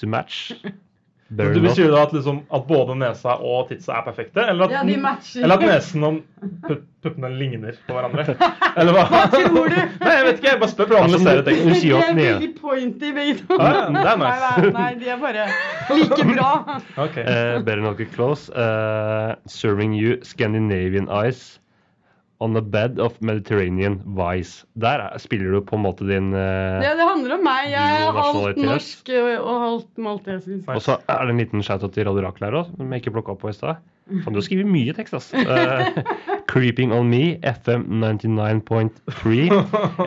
[SPEAKER 4] to match.
[SPEAKER 3] Men *laughs*
[SPEAKER 4] Better
[SPEAKER 3] Du
[SPEAKER 4] not.
[SPEAKER 3] Betyr det at, liksom, at både nesa og titsa er perfekte? Eller at,
[SPEAKER 2] Ja, de matcher.
[SPEAKER 3] eller at nesen og pu- puppene ligner på hverandre? Eller hva? Hva
[SPEAKER 2] tror du?
[SPEAKER 3] Nei, jeg vet ikke. Jeg bare spør for å
[SPEAKER 4] Altså,
[SPEAKER 3] analysere
[SPEAKER 4] du-
[SPEAKER 3] teksten.
[SPEAKER 2] *laughs*
[SPEAKER 4] du *laughs* sier jo at
[SPEAKER 2] De er
[SPEAKER 4] ne-
[SPEAKER 2] veldig pointy, begge to.
[SPEAKER 3] Ja, ja, men det er
[SPEAKER 2] Nei,
[SPEAKER 3] nice.
[SPEAKER 2] nei, nei, de er bare like bra.
[SPEAKER 3] Ok.
[SPEAKER 4] *laughs* Eh, better not get close. Eh, serving you Scandinavian ice on the bed of Mediterranean vice. Der er, spiller du på en måte din eh,
[SPEAKER 2] Ja, det handler om meg. Jeg
[SPEAKER 4] Jo,
[SPEAKER 2] er halvt
[SPEAKER 4] nasjonalitet.
[SPEAKER 2] norsk øh, og halvt maltesisk.
[SPEAKER 4] Og så er det en liten shout-out til Radio Rakel her òg, som jeg ikke plukka opp på i stad. Faen, du har skrevet mye tekst, ass.
[SPEAKER 2] *laughs*
[SPEAKER 4] Eh, Creeping on me, FM 99.3.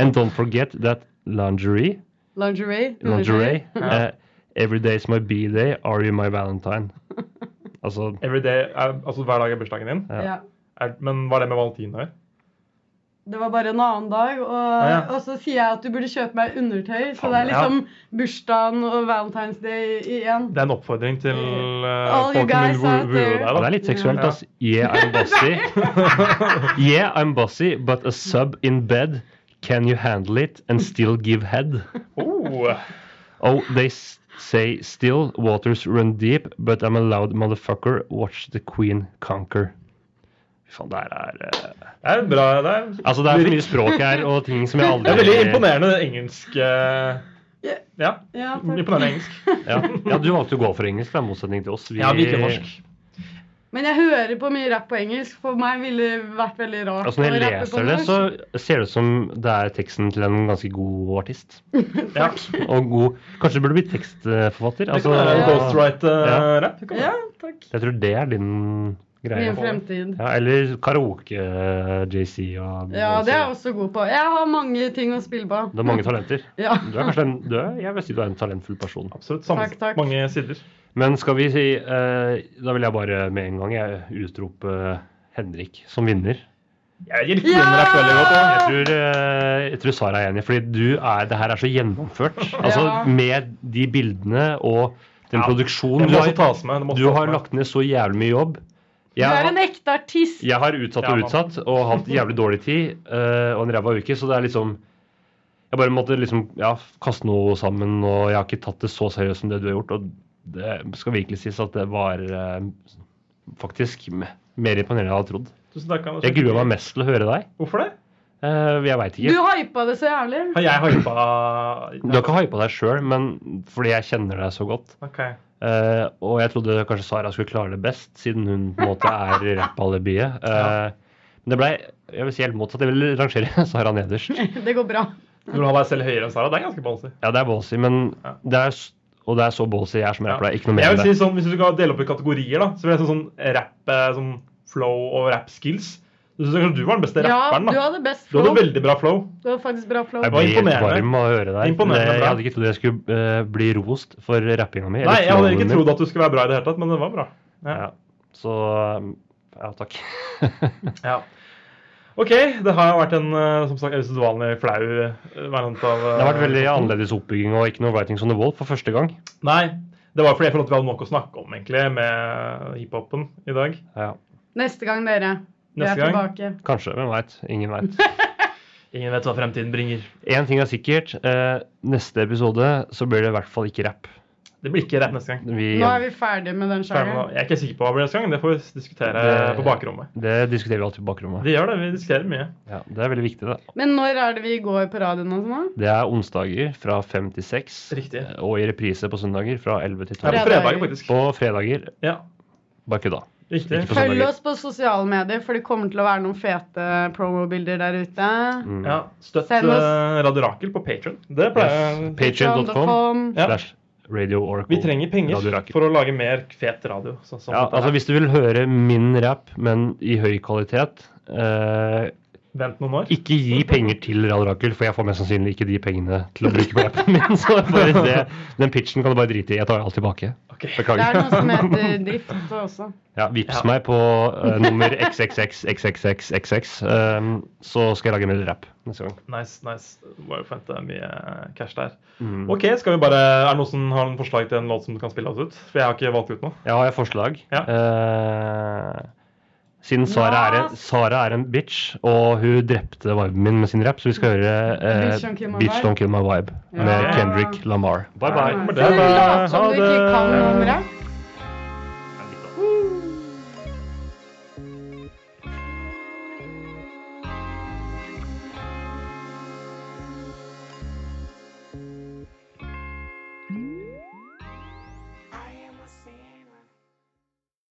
[SPEAKER 4] And don't forget that lingerie,
[SPEAKER 2] Lingerie.
[SPEAKER 4] lingerie eh, Every day is my b-day, are you my
[SPEAKER 2] *laughs*
[SPEAKER 4] valentine? Altså
[SPEAKER 3] Every day, er, altså Hver dag er bursdagen din?
[SPEAKER 4] Ja.
[SPEAKER 2] Ja.
[SPEAKER 3] Er, men hva er det med valentin å gjøre?
[SPEAKER 2] Det var bare en annen dag, og,
[SPEAKER 3] ja.
[SPEAKER 2] og så sier jeg at du burde kjøpe meg undertøy. Så
[SPEAKER 4] Faen,
[SPEAKER 2] det er
[SPEAKER 3] ja.
[SPEAKER 2] liksom bursdagen og Valentine's Day i én.
[SPEAKER 3] Det er en oppfordring til uh,
[SPEAKER 2] Mm. All you
[SPEAKER 3] folk som
[SPEAKER 2] guys
[SPEAKER 3] vil woo
[SPEAKER 2] out
[SPEAKER 3] woo
[SPEAKER 2] there.
[SPEAKER 3] deg.
[SPEAKER 4] Ja, det
[SPEAKER 3] da.
[SPEAKER 4] er litt seksuelt, ass. Yeah, I'm
[SPEAKER 3] *laughs*
[SPEAKER 4] bossy. Yeah, I'm bossy, but a sub in bed. Can you handle it and still give head?
[SPEAKER 3] Oh.
[SPEAKER 4] Oh, they s- say still waters run deep, but I'm a loud motherfucker. Watch the queen conquer. Fy faen, det her er eh,
[SPEAKER 3] Det er bra. Det er,
[SPEAKER 4] Altså, det er for mye språk her, og ting
[SPEAKER 3] *laughs*
[SPEAKER 4] som jeg aldri
[SPEAKER 3] det er veldig imponerende engelsk. eh, ja.
[SPEAKER 2] Ja, takk.
[SPEAKER 3] Imponerende engelsk.
[SPEAKER 4] Ja. ja, du valgte å gå for engelsk, da, i motsetning til oss. Vi-
[SPEAKER 3] Ja, vi liker norsk.
[SPEAKER 2] Men jeg hører på mye rapp på engelsk. For meg ville det vært veldig rart
[SPEAKER 4] Altså, når jeg
[SPEAKER 2] å rappe på
[SPEAKER 4] leser det, så ser det ut som det er teksten til en ganske god artist.
[SPEAKER 3] Ja.
[SPEAKER 4] Og god Kanskje det burde bli tekstforfatter?
[SPEAKER 3] Det kan være en
[SPEAKER 4] Ja.
[SPEAKER 3] ghostwrite-rapp.
[SPEAKER 2] Ja, takk.
[SPEAKER 4] Jeg tror det er din greie.
[SPEAKER 2] Min fremtid.
[SPEAKER 4] Ja, eller karaoke-JC og
[SPEAKER 2] Ja, det er jeg også god på. Jeg har mange ting å spille på.
[SPEAKER 4] Du har mange talenter.
[SPEAKER 2] Ja.
[SPEAKER 4] Du er kanskje en, du er, jeg vil si du er en talentfull person.
[SPEAKER 3] Absolutt. Samme,
[SPEAKER 2] Takk, takk.
[SPEAKER 3] Mange sider.
[SPEAKER 4] Men skal vi si eh, Da vil jeg bare med en gang jeg utrope Henrik som vinner.
[SPEAKER 3] Jeg likte din rapp veldig godt.
[SPEAKER 4] Jeg
[SPEAKER 3] da.
[SPEAKER 4] tror, eh, jeg tror Sara er enig, fordi du er, det her er så gjennomført. Altså
[SPEAKER 2] Ja.
[SPEAKER 4] Med de bildene og den
[SPEAKER 3] Ja,
[SPEAKER 4] produksjonen
[SPEAKER 3] Det
[SPEAKER 4] du
[SPEAKER 3] må
[SPEAKER 4] har,
[SPEAKER 3] også tas med. Det må også
[SPEAKER 4] du
[SPEAKER 3] tas
[SPEAKER 4] har
[SPEAKER 3] med.
[SPEAKER 4] lagt ned så jævlig mye jobb.
[SPEAKER 2] Du
[SPEAKER 4] Jeg
[SPEAKER 2] er
[SPEAKER 4] har-
[SPEAKER 2] en ekte artist.
[SPEAKER 4] Jeg har utsatt
[SPEAKER 3] Ja,
[SPEAKER 4] og
[SPEAKER 3] man.
[SPEAKER 4] utsatt og hatt jævlig dårlig tid eh, og en ræva uke, så det er liksom Jeg bare måtte liksom ja, kaste noe sammen, og jeg har ikke tatt det så seriøst som det du har gjort. Og det skal virkelig sies at det var eh, faktisk me- mer imponerende enn jeg hadde trodd.
[SPEAKER 3] Tusen takk, Anders.
[SPEAKER 4] Jeg gruer meg mest til å høre deg.
[SPEAKER 3] Hvorfor det?
[SPEAKER 4] Eh, jeg veit
[SPEAKER 2] Du
[SPEAKER 4] ikke.
[SPEAKER 2] hypa det så jævlig.
[SPEAKER 3] Har jeg hypa
[SPEAKER 4] Du har ikke hypa deg sjøl, men fordi jeg kjenner deg så godt.
[SPEAKER 3] Ok.
[SPEAKER 4] Eh,
[SPEAKER 3] *laughs*
[SPEAKER 4] og jeg trodde kanskje Sara skulle klare det best, siden hun på en måte er rappalibiet. Eh, Men det ble, jeg vil si helt motsatt. Jeg vil rangere *laughs* Sara nederst.
[SPEAKER 2] Det går bra.
[SPEAKER 3] Når du har deg selv høyere enn Sara, det er ganske ballsy.
[SPEAKER 4] Ja, det er ballsy, men det er, s- Og det er så ballsy jeg er som rapper. Det er ikke noe mer
[SPEAKER 3] Jeg
[SPEAKER 4] enn
[SPEAKER 3] vil
[SPEAKER 4] det.
[SPEAKER 3] si sånn, Hvis du skal dele opp i kategorier, da, så vil jeg si sånn rap, eh, sånn flow og rap skills. Du synes kanskje du var den beste
[SPEAKER 2] Ja,
[SPEAKER 3] rapperen.
[SPEAKER 2] du
[SPEAKER 3] da.
[SPEAKER 2] hadde best
[SPEAKER 3] Du hadde
[SPEAKER 2] flow.
[SPEAKER 3] veldig bra flow.
[SPEAKER 2] Du hadde faktisk bra flow.
[SPEAKER 4] Jeg
[SPEAKER 3] var
[SPEAKER 4] blir helt
[SPEAKER 3] imponerende.
[SPEAKER 4] varm av å høre deg. Det,
[SPEAKER 3] Imponerende bra.
[SPEAKER 4] jeg hadde ikke trodd jeg skulle eh, bli rost for rappinga mi.
[SPEAKER 3] Nei, jeg hadde ikke trodd at du skulle være bra i det hele tatt, men det var bra.
[SPEAKER 4] ja. Så ja, takk. *laughs*
[SPEAKER 3] Ja. OK, det har vært en eh, som sagt usedvanlig flau eh, variant av
[SPEAKER 4] Det har vært veldig annerledes oppbygging og ikke noe writings on the wall for første gang.
[SPEAKER 3] eh, Nei. Det var fordi jeg følte at vi hadde nok å snakke om egentlig med hiphopen i dag.
[SPEAKER 4] Ja,
[SPEAKER 2] Neste gang, dere. Vi
[SPEAKER 3] Neste
[SPEAKER 2] er
[SPEAKER 3] gang.
[SPEAKER 2] tilbake.
[SPEAKER 4] kanskje. Hvem veit? Ingen veit.
[SPEAKER 3] Ingen vet hva fremtiden bringer.
[SPEAKER 4] Én ting er sikkert. Eh, neste episode så blir det i hvert fall ikke rapp.
[SPEAKER 3] Det blir ikke rett neste gang.
[SPEAKER 4] Vi,
[SPEAKER 2] Nå er vi ferdig med den sjangeren.
[SPEAKER 3] Jeg er ikke sikker på hva det blir neste gang. Det får vi diskutere
[SPEAKER 4] Det-
[SPEAKER 3] på bakrommet.
[SPEAKER 4] det diskuterer vi alltid på bakrommet.
[SPEAKER 3] Vi gjør det. Vi diskuterer mye.
[SPEAKER 4] Ja, det er veldig viktig, det.
[SPEAKER 2] Men når er det vi går på radioen og sånn? da?
[SPEAKER 4] Det er onsdager fra fem til seks.
[SPEAKER 3] Riktig.
[SPEAKER 4] eh, Og i reprise på søndager fra elleve til
[SPEAKER 3] Ja, på
[SPEAKER 4] tolv.
[SPEAKER 2] Fredager.
[SPEAKER 3] fredager, faktisk.
[SPEAKER 4] På fredager.
[SPEAKER 3] Ja,
[SPEAKER 4] Bare kødda.
[SPEAKER 3] riktig.
[SPEAKER 4] Ikke på
[SPEAKER 2] Følg
[SPEAKER 4] søndager.
[SPEAKER 2] oss på sosiale medier, for det kommer til å være noen fete promobilder der ute.
[SPEAKER 4] Mm.
[SPEAKER 3] Ja, støtt
[SPEAKER 2] Send oss-
[SPEAKER 3] eh, Radio Rakel på Patron. Det pleier
[SPEAKER 4] Yes. Patreon.com
[SPEAKER 2] Patreon.com.
[SPEAKER 3] Ja.
[SPEAKER 4] slash Radio Oracle.
[SPEAKER 3] Vi trenger
[SPEAKER 4] Radio
[SPEAKER 3] penger
[SPEAKER 4] Rakel.
[SPEAKER 3] for å lage mer fet radio. Sånn som
[SPEAKER 4] Ja,
[SPEAKER 3] dette
[SPEAKER 4] altså
[SPEAKER 3] her.
[SPEAKER 4] Hvis du vil høre min rap, men i høy kvalitet eh,
[SPEAKER 3] Vent noen år.
[SPEAKER 4] Ikke gi penger til Radio Rakel, for jeg får mest sannsynlig ikke de pengene til å bruke på rappen min. Så bare det, den pitchen kan du bare drite i. Jeg tar alt tilbake.
[SPEAKER 3] Ok.
[SPEAKER 2] Det er noe
[SPEAKER 4] Beklager.
[SPEAKER 2] som heter drift også.
[SPEAKER 4] Ja, Vips
[SPEAKER 3] Ja.
[SPEAKER 4] meg på eh, nummer xxxxxxx, ehm, så skal jeg lage mer rap neste gang.
[SPEAKER 3] Nice, nice. Må jo forvente mye eh, cash der.
[SPEAKER 4] Mm.
[SPEAKER 3] Ok, skal vi bare Er det noen som har noen forslag til en låt som du kan spille oss ut? For jeg har ikke valgt ut noe.
[SPEAKER 4] Jeg har et forslag.
[SPEAKER 3] Ja.
[SPEAKER 4] Eh, siden Sara er, en, Sara er en bitch, og hun drepte viben min med sin rap, så vi skal høre eh,
[SPEAKER 2] Bitch Don't Kill My
[SPEAKER 4] Bitch
[SPEAKER 2] Vibe.
[SPEAKER 4] Don't Kill My Vibe med
[SPEAKER 2] Ja.
[SPEAKER 4] Kendrick Lamar. Bye bye.
[SPEAKER 3] Kommer
[SPEAKER 2] Så
[SPEAKER 3] det.
[SPEAKER 2] lat som du ikke kan noe om rap.